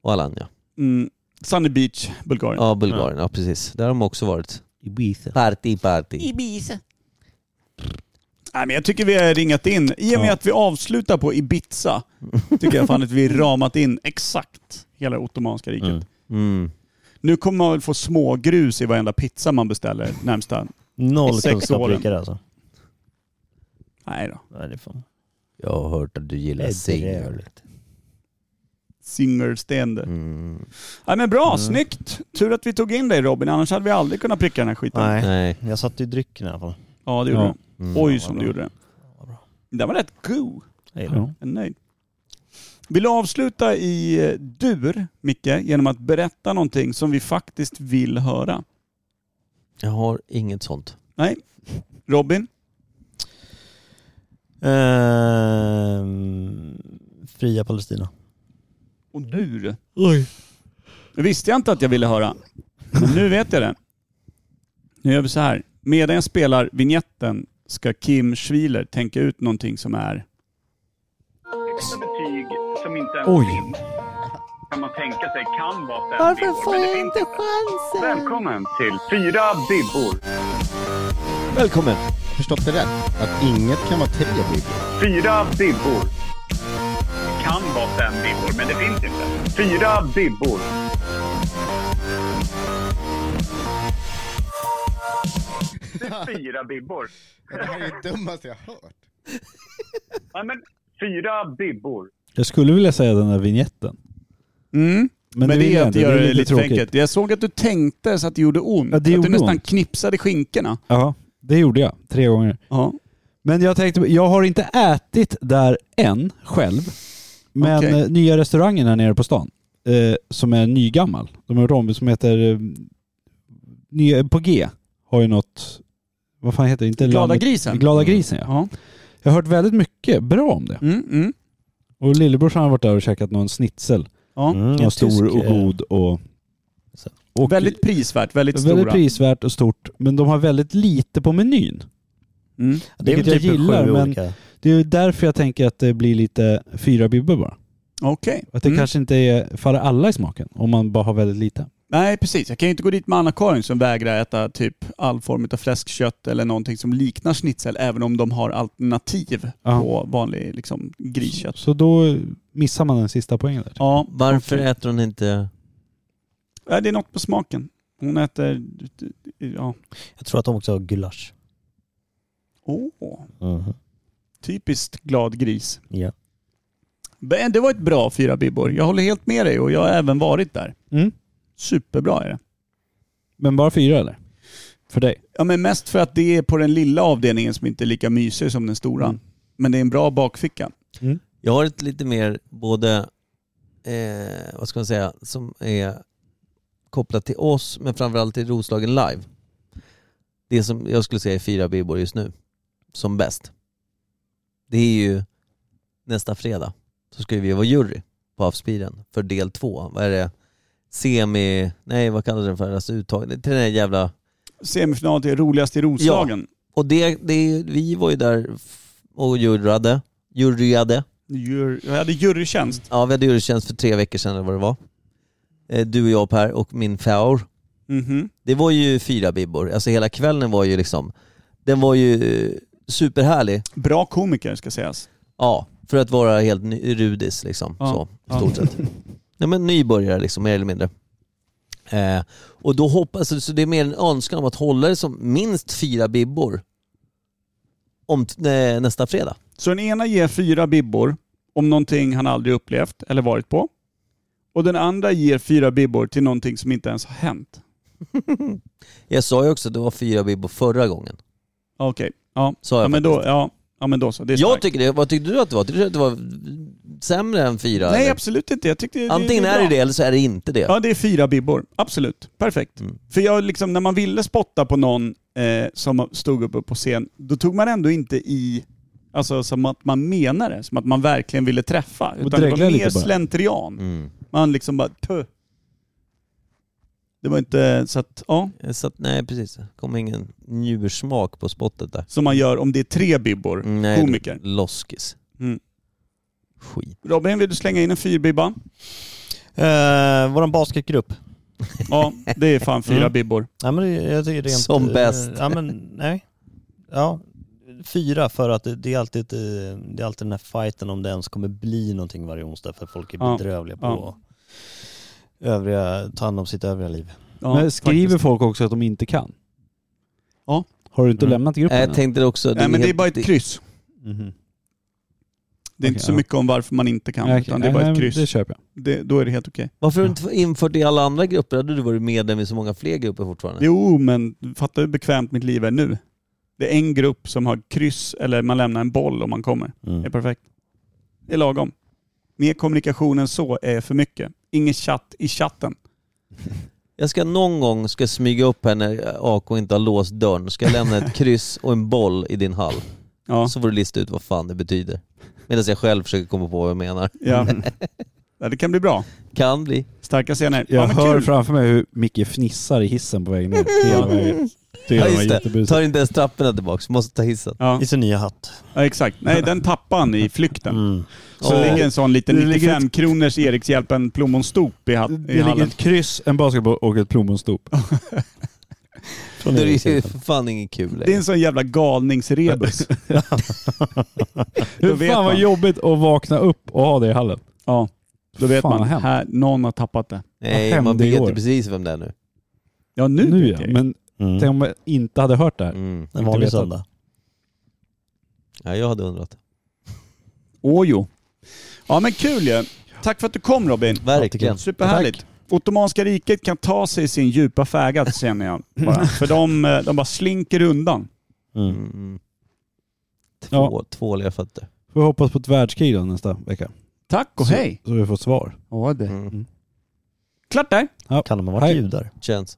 Speaker 2: och Alanya.
Speaker 3: Mm. Sunny Beach, Bulgarien.
Speaker 2: Ja, Bulgarien. Ja, precis. Där har de också varit.
Speaker 4: Ibiza.
Speaker 2: Parti, parti.
Speaker 5: Ibiza.
Speaker 3: Nej, men jag tycker vi har ringat in. I och med
Speaker 1: Ja.
Speaker 3: att vi avslutar på Ibiza tycker jag fan
Speaker 2: <laughs>
Speaker 3: att vi ramat in exakt hela Ottomanska riket.
Speaker 2: Mm.
Speaker 3: Nu kommer man väl få smågrus i varenda pizza man beställer närmsta...
Speaker 4: Noll
Speaker 3: I sex
Speaker 4: kunskap
Speaker 3: åren.
Speaker 4: ryckare alltså.
Speaker 3: Nej då.
Speaker 4: Nej, det är fan.
Speaker 2: Jag har hört att du
Speaker 4: Det
Speaker 2: gillar
Speaker 4: är
Speaker 2: singer.
Speaker 4: bedrövligt.
Speaker 3: Singerständer.
Speaker 2: Mm.
Speaker 3: Nej men bra, snyggt! Tur att vi tog in dig Robin, annars hade vi aldrig kunnat pricka den här skiten.
Speaker 4: Nej.
Speaker 2: Nej.
Speaker 4: Jag satte ju drycken i alla fall.
Speaker 3: Ja, det gjorde
Speaker 1: Ja.
Speaker 3: du. Oj,
Speaker 4: Mm. vad
Speaker 3: som
Speaker 4: bra.
Speaker 3: du gjorde den.
Speaker 4: vad bra.
Speaker 3: Den var rätt god.
Speaker 4: Jag gillar det.
Speaker 1: Ja.
Speaker 3: Jag är nöjd. Vill du avsluta i eh, dur, Micke, genom att berätta någonting som vi faktiskt vill höra?
Speaker 2: Jag har inget sånt.
Speaker 3: Robin?
Speaker 4: Ehm, fria Palestina.
Speaker 3: Och dur? Oj. Det visste jag inte att jag ville höra. Men nu vet jag det. Nu gör vi så här. Medan jag spelar vignetten ska Kim Schwiler tänka ut någonting som är...
Speaker 9: betyg som inte ens
Speaker 1: Oj.
Speaker 9: finns. Kan man tänka sig kan vara fem Varför får jag inte chansen? Välkommen till Fyra bibbor.
Speaker 10: Välkommen! Förstått det rätt? Att inget kan vara tre bibbor.
Speaker 9: Fyra bibbor. Det kan vara fem bibbor, men det finns inte. Fyra bibbor. Det är Fyra bibbor.
Speaker 10: Det här är det dummaste jag har hört.
Speaker 9: Ja, men fyra bibbor.
Speaker 1: Jag skulle vilja säga den där vignetten.
Speaker 3: Mm.
Speaker 1: Men,
Speaker 3: Men
Speaker 1: det,
Speaker 3: det
Speaker 1: vill
Speaker 3: är
Speaker 1: jag
Speaker 3: att
Speaker 1: inte.
Speaker 3: göra
Speaker 1: är
Speaker 3: det lite för enkelt. Jag såg att du tänkte så att det gjorde ont.
Speaker 1: Ja, det
Speaker 3: att
Speaker 1: gjorde
Speaker 3: du nästan
Speaker 1: ont.
Speaker 3: knipsade skinkorna.
Speaker 1: Ja, det gjorde jag. Tre gånger.
Speaker 3: Ja.
Speaker 1: Men jag tänkte, jag har inte ätit där än själv. Men
Speaker 3: Okej.
Speaker 1: eh, nya restaurangen här nere på stan, eh, som är nygammal, de har gjort om, som heter eh, nya, på G, har ju något, vad fan heter det? Inte
Speaker 3: Glada
Speaker 1: Landet-
Speaker 3: grisen. Mm.
Speaker 1: Glada grisen ja.
Speaker 3: Ja.
Speaker 1: Jag har hört väldigt mycket bra om det.
Speaker 3: Mm, mm.
Speaker 1: Och lillebrorsan har varit där och käkat någon schnitzel.
Speaker 3: Ja.
Speaker 4: Mm,
Speaker 1: Någon
Speaker 4: en
Speaker 1: stor
Speaker 4: tysk,
Speaker 1: och
Speaker 4: eh,
Speaker 1: god och...
Speaker 4: så.
Speaker 1: och
Speaker 3: Väldigt prisvärt, väldigt
Speaker 1: väldigt
Speaker 3: stora.
Speaker 1: prisvärt och stort. Men de har väldigt lite på menyn.
Speaker 3: Mm.
Speaker 4: Det är väl
Speaker 1: vilket jag
Speaker 4: typ
Speaker 1: gillar,
Speaker 4: sju
Speaker 1: men-
Speaker 4: olika.
Speaker 1: Det är ju därför jag tänker att det blir lite fyra bibbor bara.
Speaker 3: Okej.
Speaker 1: Att det
Speaker 3: Mm.
Speaker 1: kanske inte är för alla i smaken om man bara har väldigt lite.
Speaker 3: Nej, precis. Jag kan ju inte gå dit med Anna-Karin som vägrar äta typ all form av fläskkött eller någonting som liknar schnitzel, även om de har alternativ
Speaker 1: Ja.
Speaker 3: på vanlig liksom, griskött.
Speaker 1: Så då missar man den sista poängen där.
Speaker 3: Ja,
Speaker 2: Varför
Speaker 3: okej.
Speaker 2: äter hon inte...
Speaker 3: Ja, Det är något på smaken. Hon äter... Ja.
Speaker 4: Jag tror att de också har gulasch.
Speaker 3: Åh,
Speaker 4: Mhm.
Speaker 3: typiskt glad gris.
Speaker 4: Ja.
Speaker 3: Men Det var ett bra fyra bibbor. Jag håller helt med dig och jag har även varit där.
Speaker 1: Mm.
Speaker 3: Superbra är det.
Speaker 1: Men bara fyra eller? För dig?
Speaker 3: Ja, men mest för att det är på den lilla avdelningen som inte är lika mysig som den stora.
Speaker 1: Mm.
Speaker 3: Men det är en bra bakficka.
Speaker 2: Jag har ett lite mer både, eh, vad ska man säga, som är kopplat till oss men framförallt till Roslagen Live. Det som jag skulle säga är fyra bibbor just nu, som bäst. Det är ju nästa fredag så ska vi vara jury på Havspiren för del två. Vad är det? Semi, nej vad kallas den för? Alltså uttag, till den här jävla
Speaker 3: Semifinal till roligast i Roslagen.
Speaker 2: Och det, det, vi var ju där f- och jurade, juryade.
Speaker 3: Jur- Jag hade jurytjänst.
Speaker 2: Ja, vi hade jurytjänst för tre veckor sedan eller vad det var. Eh, Du och jag Per och min faur.
Speaker 3: Mhm.
Speaker 2: Det var ju fyra bibbor. Alltså hela kvällen var ju liksom, den var ju eh, superhärlig.
Speaker 3: Bra komiker ska sägas.
Speaker 2: Ja, för att vara helt ny, rudis liksom.
Speaker 3: Ja,
Speaker 2: Så,
Speaker 3: ja.
Speaker 1: <laughs>
Speaker 2: stort sett. Nej men nybörjare liksom, mer eller mindre. Eh, och då hoppas, så, så det är mer en önskan om att hålla det som minst fyra bibbor om t- eh, nästa fredag. <laughs>
Speaker 3: Så den ena ger fyra bibbor om någonting han aldrig upplevt eller varit på. Och den andra ger fyra bibbor till någonting som inte ens har hänt.
Speaker 2: Jag sa ju också att det var fyra bibbor förra gången.
Speaker 3: Ja, Okej. Ja.
Speaker 2: Sa jag
Speaker 3: Ja, men då, ja. ja, men då så. Det är
Speaker 2: Jag
Speaker 3: starkt.
Speaker 2: tycker det. Vad tyckte du att det var? Tyckte du att det var sämre än fyra?
Speaker 3: Nej,
Speaker 2: eller?
Speaker 3: absolut inte. Jag tyckte det,
Speaker 2: Antingen
Speaker 3: det
Speaker 2: är det
Speaker 3: bra.
Speaker 2: det eller så är det inte det.
Speaker 3: Ja, det är fyra bibbor. Absolut. Perfekt.
Speaker 2: Mm.
Speaker 3: För jag liksom, när man ville spotta på någon eh, som stod uppe på scen, då tog man ändå inte i, alltså som att man menade det, som att man verkligen ville träffa. Utan det var
Speaker 1: dreglade
Speaker 3: mer
Speaker 1: lite bara.
Speaker 3: slentrian.
Speaker 2: mm.
Speaker 3: Man liksom bara, Puh. Det var inte så att, ja,
Speaker 2: Eh, Så att, nej, precis. Det kom ingen njursmak på spottet där.
Speaker 3: som man gör om det är tre bibbor.
Speaker 2: Mm, Nej,
Speaker 3: Komiker.
Speaker 2: Loskis.
Speaker 3: Mm.
Speaker 2: Skit.
Speaker 3: Robin, vill du slänga in en fyrbibba?
Speaker 4: Eh, Vår basketgrupp.
Speaker 3: Ja, det är fan fyra
Speaker 4: Mm.
Speaker 3: bibbor.
Speaker 4: Ja, men det- jag tycker rent,
Speaker 2: Som bäst.
Speaker 4: Ja, men nej. Ja. fyra för att det, det, är alltid, ett, eh, det är alltid den här fighten om det ens kommer bli någonting varje onsdag för folk är
Speaker 3: Ja.
Speaker 4: bedrövliga på
Speaker 3: Ja.
Speaker 4: övriga, ta hand om sitt övriga liv.
Speaker 1: Men skriver folk också att de inte kan?
Speaker 3: Ja.
Speaker 1: Har du inte
Speaker 4: Mm.
Speaker 1: lämnat gruppen?
Speaker 2: Nej,
Speaker 1: än?
Speaker 2: jag tänkte också...
Speaker 3: Nej, men det är
Speaker 2: helt-
Speaker 3: bara ett kryss.
Speaker 1: Mhm.
Speaker 3: Det är inte
Speaker 1: Okej,
Speaker 3: så
Speaker 1: ja.
Speaker 3: mycket om varför man inte kan,
Speaker 1: Nej, okej.
Speaker 3: utan det är
Speaker 1: Nej,
Speaker 3: bara
Speaker 1: nej,
Speaker 3: ett
Speaker 1: men
Speaker 3: kryss.
Speaker 1: Det köper jag.
Speaker 3: Det, då är det helt okej.
Speaker 2: Varför har du inte infört det i alla andra grupper? Hade du varit medlem i så många fler grupper fortfarande?
Speaker 3: Jo, men fattar hur bekvämt mitt liv är nu. Det är en grupp som har kryss, eller man lämnar en boll om man kommer. Det är
Speaker 4: Mm.
Speaker 3: perfekt. Det är lagom. Mer kommunikation än så är för mycket. Ingen chatt i chatten.
Speaker 2: Jag ska någon gång ska jag smyga upp här när AK inte har låst dörren. Ska jag lämna ett kryss och en boll i din hall.
Speaker 3: Ja.
Speaker 2: Så får du lista ut vad fan det betyder. Medan jag själv försöker komma på vad jag menar.
Speaker 3: Ja. <laughs> ja, det kan bli bra.
Speaker 2: Kan bli.
Speaker 3: Starka scener.
Speaker 1: Jag
Speaker 3: Ja, men
Speaker 1: hör
Speaker 3: kul.
Speaker 1: framför mig hur Micke fnissar i hissen på vägen ner. Hela vägen. Det gör
Speaker 2: Ja,
Speaker 1: mig
Speaker 2: just det.
Speaker 1: jättebusig.
Speaker 2: Tar inte ens trapporna tillbaks. Måste ta hissen.
Speaker 3: Ja,
Speaker 4: I sin nya hatt.
Speaker 3: ja, exakt. Nej, den tappade han i flykten.
Speaker 4: Mm.
Speaker 3: Så
Speaker 2: Åh.
Speaker 3: det ligger en sån liten
Speaker 1: Det ligger ett-
Speaker 3: 95-kronors Erikshjälpen plommonstop i, hatt, i
Speaker 1: Det ligger
Speaker 3: hallen.
Speaker 1: ett kryss, en basketboll och ett plommonstop.
Speaker 2: Då är det ju för fan inget kul
Speaker 3: Det är
Speaker 2: längre.
Speaker 3: en sån
Speaker 1: <laughs>
Speaker 3: jävla galningsrebus. Då
Speaker 1: Hur
Speaker 3: vet
Speaker 1: fan vad
Speaker 3: man.
Speaker 1: jobbigt att vakna upp och ha det i hallen.
Speaker 3: Ja, då vet
Speaker 1: Fan, vad
Speaker 3: man.
Speaker 1: hemskt.
Speaker 3: Här, någon har tappat det.
Speaker 2: Nej,
Speaker 1: hände
Speaker 2: man
Speaker 1: i
Speaker 2: vet
Speaker 1: år?
Speaker 2: ju precis vem det är nu.
Speaker 3: Ja, nu,
Speaker 1: Nu
Speaker 3: vet
Speaker 1: ja,
Speaker 3: jag Mm. ju.
Speaker 1: men tänk om jag inte hade hört det här.
Speaker 2: Mm.
Speaker 4: Mm. En vanlig
Speaker 1: vet att-
Speaker 4: söndag.
Speaker 2: Ja, jag hade undrat.
Speaker 3: Åjo. Ja men kul ju. Tack för att du kom Robin.
Speaker 2: Verkligen.
Speaker 3: Superhärligt. Ottomanska riket kan ta sig sin djupa fäga känner jag. Bara. För de, eh, de bara slinker undan.
Speaker 2: Mm. Två,
Speaker 1: Ja.
Speaker 2: Tvåliga fötter.
Speaker 1: Får vi hoppas på ett världskrig då nästa vecka.
Speaker 3: Tack och hej.
Speaker 1: Så vi får svar.
Speaker 10: Ja, det.
Speaker 2: Mm.
Speaker 3: Klart där.
Speaker 4: Kan de ha varit
Speaker 1: Hej.
Speaker 4: judar?
Speaker 2: Känns.